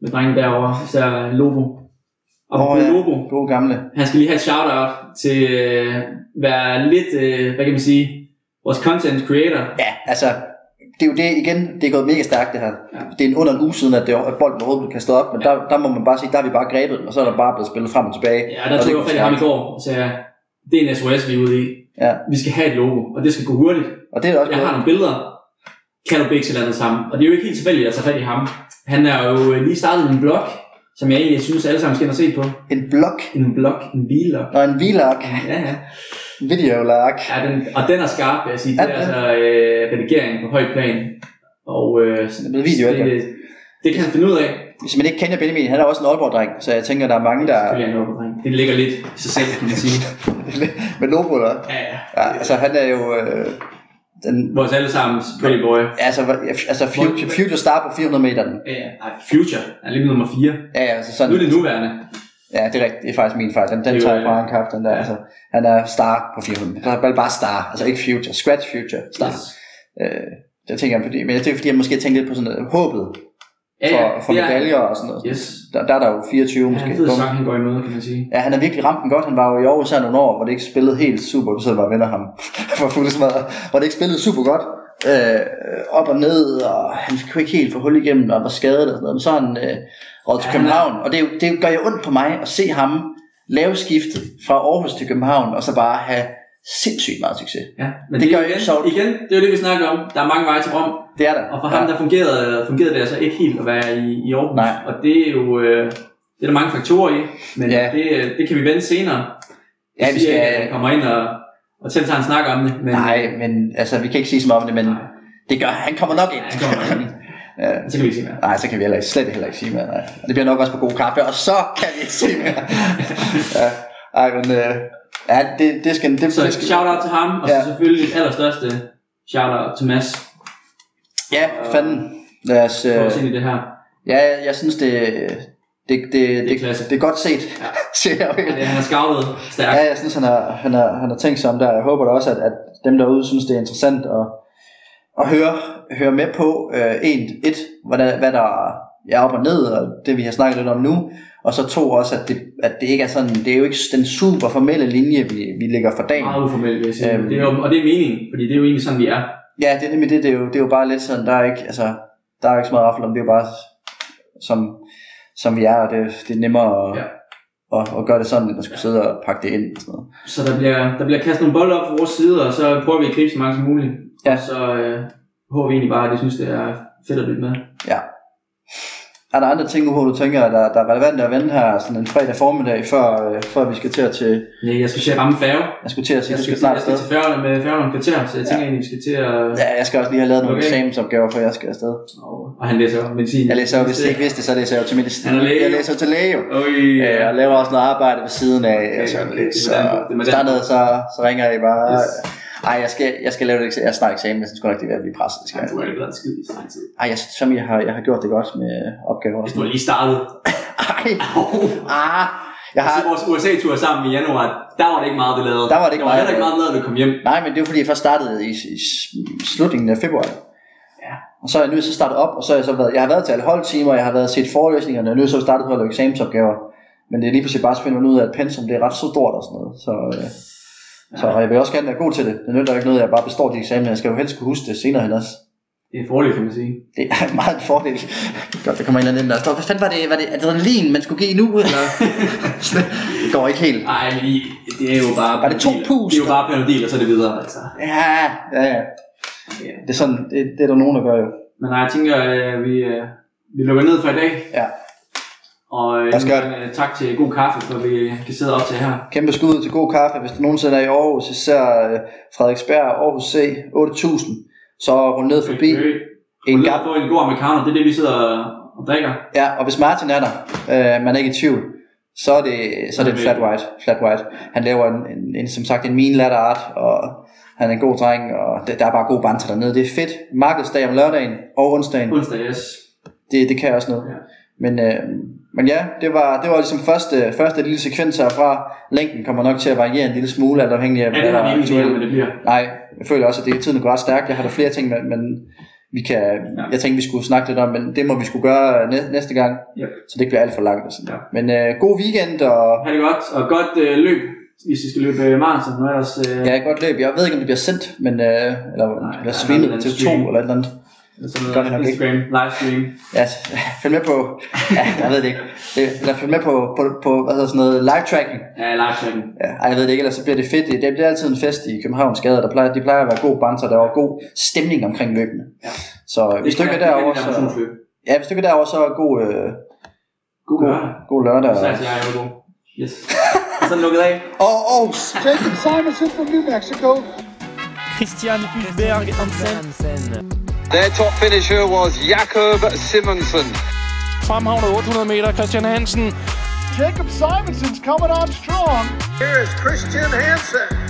[SPEAKER 5] med drengen derovre, især Lobo. Og
[SPEAKER 4] Åh,
[SPEAKER 5] oh,
[SPEAKER 4] ja.
[SPEAKER 5] Lobo,
[SPEAKER 4] Gode gamle.
[SPEAKER 5] han skal lige have et shout-out til øh, være lidt, øh, hvad kan man sige, vores content creator.
[SPEAKER 4] Ja, altså, det er jo det igen, det er gået mega stærkt det her.
[SPEAKER 5] Ja.
[SPEAKER 4] Ja. Det er en under en uge siden, at, det, at bolden overhovedet blev kastet op, men ja. der, der må man bare sige, der har vi bare grebet den, og så er der bare blevet spillet frem og tilbage.
[SPEAKER 5] Ja, der
[SPEAKER 4] Og
[SPEAKER 5] tog
[SPEAKER 4] det
[SPEAKER 5] jeg
[SPEAKER 4] går
[SPEAKER 5] fat i ham i går og sagde, det er en SOS, vi er ude i.
[SPEAKER 4] Ja.
[SPEAKER 5] Vi skal have et logo, og det skal gå hurtigt.
[SPEAKER 4] Og det er da også
[SPEAKER 5] Jeg har
[SPEAKER 4] blevet,
[SPEAKER 5] nogle billeder. Kan du bække noget sammen? Og det er jo ikke helt tilfældigt, at jeg tager fat i ham. Han er jo øh, lige startet en blog, som jeg egentlig synes, alle sammen skal ind og se på.
[SPEAKER 4] en blok,
[SPEAKER 5] En blog, en vlog.
[SPEAKER 4] og en vlog,
[SPEAKER 5] Ja, ja.
[SPEAKER 4] videolog.
[SPEAKER 5] Ja, den, og den er skarp, vil jeg sige. Det
[SPEAKER 4] Ja,
[SPEAKER 5] er altså øh, redigering på høj plan. Og øh,
[SPEAKER 4] er blevet video,
[SPEAKER 5] det, det, det kan han finde ud af.
[SPEAKER 4] Hvis man ikke kender Benjamin, han er også en Aalborg-dreng, så jeg tænker, der er mange, der...
[SPEAKER 5] Ja. Det ligger lidt i sig selv, kan man sige.
[SPEAKER 4] med logo der.
[SPEAKER 5] Ja, ja.
[SPEAKER 4] Ja, altså han er jo... Øh, den,
[SPEAKER 5] Vores allesammens pretty boy.
[SPEAKER 4] altså, hva- altså future, future Star på 400 meter. den.
[SPEAKER 5] Ja, ja. Ej, Future er lige nummer 4.
[SPEAKER 4] Ja, ja, altså
[SPEAKER 5] Nu
[SPEAKER 4] sådan,
[SPEAKER 5] er det nuværende.
[SPEAKER 4] ja, det er rigtigt. Det er faktisk min fejl. Den, den
[SPEAKER 5] Jo,
[SPEAKER 4] tager jeg
[SPEAKER 5] ja.
[SPEAKER 4] fra en kap, den der.
[SPEAKER 5] Ja.
[SPEAKER 4] Altså, han er star på 400 meter. Bare, bare star, altså ikke future. Scratch future. Star.
[SPEAKER 5] Yes.
[SPEAKER 4] Øh, jeg tænker, fordi, men jeg tænker, fordi jeg måske tænker lidt på sådan noget, håbet
[SPEAKER 5] Ja, ja.
[SPEAKER 4] for, for
[SPEAKER 5] det er-
[SPEAKER 4] medaljer og sådan noget.
[SPEAKER 5] Yes.
[SPEAKER 4] Der, der er der jo 24
[SPEAKER 5] Han
[SPEAKER 4] måske.
[SPEAKER 5] er en fed
[SPEAKER 4] Bum.
[SPEAKER 5] sang, han går i møde, kan man sige.
[SPEAKER 4] Ja, han har virkelig ramt den godt. Han var jo i Aarhus her nogle år, hvor det ikke spillede helt super. Du sidder bare og vender ham for fulde smadret. Hvor det ikke spillede super godt. Øh, op og ned, og han kunne ikke helt få hul igennem, og var skadet og sådan noget. Men så er han øh, råd til
[SPEAKER 5] Ja,
[SPEAKER 4] København. Og det, er jo- det gør jo ondt på mig at se ham lave skiftet fra Aarhus til København, og så bare have sindssygt meget succes.
[SPEAKER 5] Ja, men
[SPEAKER 4] Det
[SPEAKER 5] det, det
[SPEAKER 4] gør
[SPEAKER 5] er
[SPEAKER 4] jo
[SPEAKER 5] igen,
[SPEAKER 4] ikke sjovt.
[SPEAKER 5] igen, det er jo det, vi snakker om. Der er mange veje til Rom.
[SPEAKER 4] Det er der.
[SPEAKER 5] Og for ham, der fungerede, fungerede det altså ikke helt at være i, i Aarhus.
[SPEAKER 4] Nej.
[SPEAKER 5] Og det er jo øh, det er der mange faktorer i, men
[SPEAKER 4] Ja.
[SPEAKER 5] ja. det, øh, det kan vi vende senere.
[SPEAKER 4] Ja,
[SPEAKER 5] Jeg
[SPEAKER 4] vi
[SPEAKER 5] siger ikke,
[SPEAKER 4] skal-
[SPEAKER 5] at han kommer ind og, og selv tager en snak om det. Men,
[SPEAKER 4] Nej, men altså, vi kan ikke sige så meget om det, men
[SPEAKER 5] Nej.
[SPEAKER 4] det gør, han kommer nok
[SPEAKER 5] Ja,
[SPEAKER 4] ind.
[SPEAKER 5] han kommer nok ind.
[SPEAKER 4] Ja.
[SPEAKER 5] Så kan vi ikke sige mere.
[SPEAKER 4] Nej, så kan vi heller ikke, slet heller ikke sige mere. Nej. Og det bliver nok også på god kaffe, og så kan vi ikke sige mere. ja. Ej, men øh, ja, det, det skal... Det,
[SPEAKER 5] Så
[SPEAKER 4] det skal
[SPEAKER 5] shout out til ham, og ja.
[SPEAKER 4] Ja.
[SPEAKER 5] så selvfølgelig det allerstørste shout out til Mads
[SPEAKER 4] ja, fanden. Lad os, øh,
[SPEAKER 5] for os ind i det her.
[SPEAKER 4] ja, jeg synes, det, det, det, det, det,
[SPEAKER 5] klasse.
[SPEAKER 4] det er godt set,
[SPEAKER 5] Ja.
[SPEAKER 4] siger jeg
[SPEAKER 5] Han
[SPEAKER 4] virkelig.
[SPEAKER 5] er- Han er scoutet stærkt.
[SPEAKER 4] Ja, jeg synes, han har, han har, han har tænkt sig om der. Jeg håber da også, at, at dem derude synes, det er interessant at, at høre, høre med på. Øh, en, et, hvad der, hvad der er op og ned, og det vi har snakket lidt om nu. Og så to også, at det, at det ikke er sådan, det er jo ikke den super formelle linje, vi, vi lægger for dagen.
[SPEAKER 5] Meget uformelt, vil jeg sige.
[SPEAKER 4] Øhm.
[SPEAKER 5] Det er jo, og det er meningen, fordi det er jo egentlig sådan, vi er.
[SPEAKER 4] Ja, det er nemlig det, det er jo, det er jo bare lidt sådan, der er ikke, altså, der er jo ikke så meget raffel om, det er jo bare som, som vi er, og det, det er nemmere at,
[SPEAKER 5] Ja.
[SPEAKER 4] at, at, gøre det sådan, end at skulle sidde og pakke det ind og sådan noget.
[SPEAKER 5] Så der bliver, der bliver kastet nogle bolde op fra vores side, og så prøver vi at gribe så mange som muligt.
[SPEAKER 4] Ja.
[SPEAKER 5] Og så øh, håber vi egentlig bare, at de synes, det er fedt at lytte med.
[SPEAKER 4] Ja. er der andre ting, hvor du tænker, der, der er relevant at vende her sådan en fredag formiddag, før, øh, før vi skal til at til...
[SPEAKER 5] Nej, jeg skal til at ramme færge.
[SPEAKER 4] Jeg skulle til at sige,
[SPEAKER 5] Jeg
[SPEAKER 4] du
[SPEAKER 5] skal,
[SPEAKER 4] skal
[SPEAKER 5] til-
[SPEAKER 4] snart
[SPEAKER 5] jeg skal
[SPEAKER 4] afsted.
[SPEAKER 5] til færgen med færgen om et kvarter, så jeg tænker egentlig, vi skal til at...
[SPEAKER 4] Ja, jeg skal også lige have lavet nogle
[SPEAKER 5] Okay.
[SPEAKER 4] eksamensopgaver, før jeg skal afsted.
[SPEAKER 5] Og, og han læser jo medicin.
[SPEAKER 4] Jeg læser jo, hvis I ikke vidste det, så læser jeg jo til medicin.
[SPEAKER 5] Han er læge.
[SPEAKER 4] Jeg læser jo til læge. jo.
[SPEAKER 5] Øj,
[SPEAKER 4] Øh,
[SPEAKER 5] ja.
[SPEAKER 4] Jeg laver også noget arbejde ved siden af. Altså,
[SPEAKER 5] okay, det er
[SPEAKER 4] så
[SPEAKER 5] hvordan- det er
[SPEAKER 4] hvis
[SPEAKER 5] hvordan-
[SPEAKER 4] der er noget, så, så ringer I bare.
[SPEAKER 5] Yes.
[SPEAKER 4] Ej, jeg skal, jeg skal lave det eksamen. Jeg er snart eksamen, jeg synes godt nok, det er ved at blive presset. Det skal
[SPEAKER 5] Ja,
[SPEAKER 4] jeg.
[SPEAKER 5] du har ikke været en skid i så lang tid.
[SPEAKER 4] Ej, jeg synes, som jeg har, jeg har gjort det godt med opgaver. og
[SPEAKER 5] Hvis
[SPEAKER 4] sådan
[SPEAKER 5] du har lige startet.
[SPEAKER 4] noget. Ej,
[SPEAKER 5] Oh.
[SPEAKER 4] ah, jeg har...
[SPEAKER 5] Altså, vores USA-tur sammen i januar, der var det ikke meget, vi lavede.
[SPEAKER 4] Der var det ikke
[SPEAKER 5] der var
[SPEAKER 4] meget,
[SPEAKER 5] heller ikke
[SPEAKER 4] vi
[SPEAKER 5] meget, vi lavede, når vi kom hjem.
[SPEAKER 4] Nej, men det er jo fordi, jeg først startede i, i slutningen af februar.
[SPEAKER 5] Ja.
[SPEAKER 4] Og så er jeg nu så startet op, og så har jeg så været, jeg har været til alle holdtimer, jeg har været set forelæsningerne, og nu er jeg så startet på at lave eksamensopgaver. Men det er lige pludselig bare spændende ud af, at pensum det er ret så stort og sådan noget. Så, øh, så og jeg vil også gerne være god til det. Det nytter jo ikke noget, at jeg bare består de eksamen. Jeg skal jo helst kunne huske det senere hen også.
[SPEAKER 5] Det er en fordel, kan man sige.
[SPEAKER 4] Det er meget en fordel. Godt, der kommer en eller anden ind, der står, hvad fanden var det, var det adrenalin, man skulle give nu? Eller? det går ikke helt.
[SPEAKER 5] Ej, men I- det er jo bare...
[SPEAKER 4] Var det to
[SPEAKER 5] panodil.
[SPEAKER 4] pust?
[SPEAKER 5] Det er jo bare panodil, og så er det videre, altså.
[SPEAKER 4] Ja, ja, ja.
[SPEAKER 5] Ja.
[SPEAKER 4] Det er sådan, det, det er der nogen, der gør jo.
[SPEAKER 5] Men nej, jeg tænker, øh, vi, øh, vi lukker ned for i dag.
[SPEAKER 4] Ja.
[SPEAKER 5] Og øh,
[SPEAKER 4] Lad os gøre
[SPEAKER 5] øh, tak til god kaffe, for vi kan sidde op til her.
[SPEAKER 4] Kæmpe skud til god kaffe. Hvis du nogensinde er i Aarhus, især øh, Frederiksberg og Aarhus C, 8000, så rund ned forbi
[SPEAKER 5] Øh,
[SPEAKER 4] en
[SPEAKER 5] Ud
[SPEAKER 4] gang.
[SPEAKER 5] og få en god americano, det er det, vi sidder og drikker.
[SPEAKER 4] Ja, og hvis Martin er der, øh, man er ikke i tvivl, så er det, så er det en flat white, flat white. Han laver en, en, en som sagt en min latter art, og han er en god dreng, og det, der er bare god banter dernede. Det er fedt. Markedsdag om lørdagen og onsdagen,
[SPEAKER 5] Onsdag, yes.
[SPEAKER 4] det, det kan også noget.
[SPEAKER 5] Ja.
[SPEAKER 4] Men, øh, men ja, det var, det var ligesom første, første lille sekvens herfra. Længden kommer nok til at variere en lille smule, alt afhængig af,
[SPEAKER 5] Ja, det har vi
[SPEAKER 4] der er
[SPEAKER 5] ikke
[SPEAKER 4] aktuelt.
[SPEAKER 5] lige, men det bliver.
[SPEAKER 4] Nej, jeg føler også, at det, tiden går ret stærkt. Jeg har der flere ting, men, men vi kan, ja. jeg tænkte, vi skulle snakke lidt om, men det må vi skulle gøre øh, næ- næste gang,
[SPEAKER 5] Ja.
[SPEAKER 4] så det ikke bliver alt for langt. Og sådan.
[SPEAKER 5] Ja.
[SPEAKER 4] Men øh, god weekend, og
[SPEAKER 5] Ha' det godt, og godt øh, løb, hvis I skal løbe øh, maraton. Og ellers, øh,
[SPEAKER 4] ja, godt løb. Jeg ved ikke, om det bliver sendt, men, øh, eller om
[SPEAKER 5] Nej, der er
[SPEAKER 4] det bliver
[SPEAKER 5] noget
[SPEAKER 4] streamet
[SPEAKER 5] andet
[SPEAKER 4] til to
[SPEAKER 5] streaming.
[SPEAKER 4] eller et eller andet.
[SPEAKER 5] sådan
[SPEAKER 4] Gør det nok
[SPEAKER 5] noget
[SPEAKER 4] ikke.
[SPEAKER 5] Instagram, livestream.
[SPEAKER 4] Ja, følg med på, ja, jeg ved det ikke. Det- Eller følg med på, på, på hvad hedder sådan noget, live tracking.
[SPEAKER 5] Ja, livestream.
[SPEAKER 4] Ja, ej, jeg ved det ikke, ellers så bliver det fedt. Det bliver altid en fest i Københavns gader. Der plejer, de plejer at være god banter, der er god stemning omkring løbene.
[SPEAKER 5] Ja.
[SPEAKER 4] Så hvis du ikke er derovre, så... Ja, hvis du ikke er derovre, så god, øh,
[SPEAKER 5] God
[SPEAKER 4] god,
[SPEAKER 5] lørdag.
[SPEAKER 4] god lørdag.
[SPEAKER 5] Så er jeg jo god. Yes. Og så lukket af.
[SPEAKER 4] Og, og
[SPEAKER 1] Jason Simonson from New Mexico
[SPEAKER 2] Christian Hulberg Hansen.
[SPEAKER 3] Their top finisher was Jakob Simonsen.
[SPEAKER 2] Fremhavnet 800 meter, Christian Hansen.
[SPEAKER 1] Jacob Simonson's coming on strong. Here is Christian Hansen.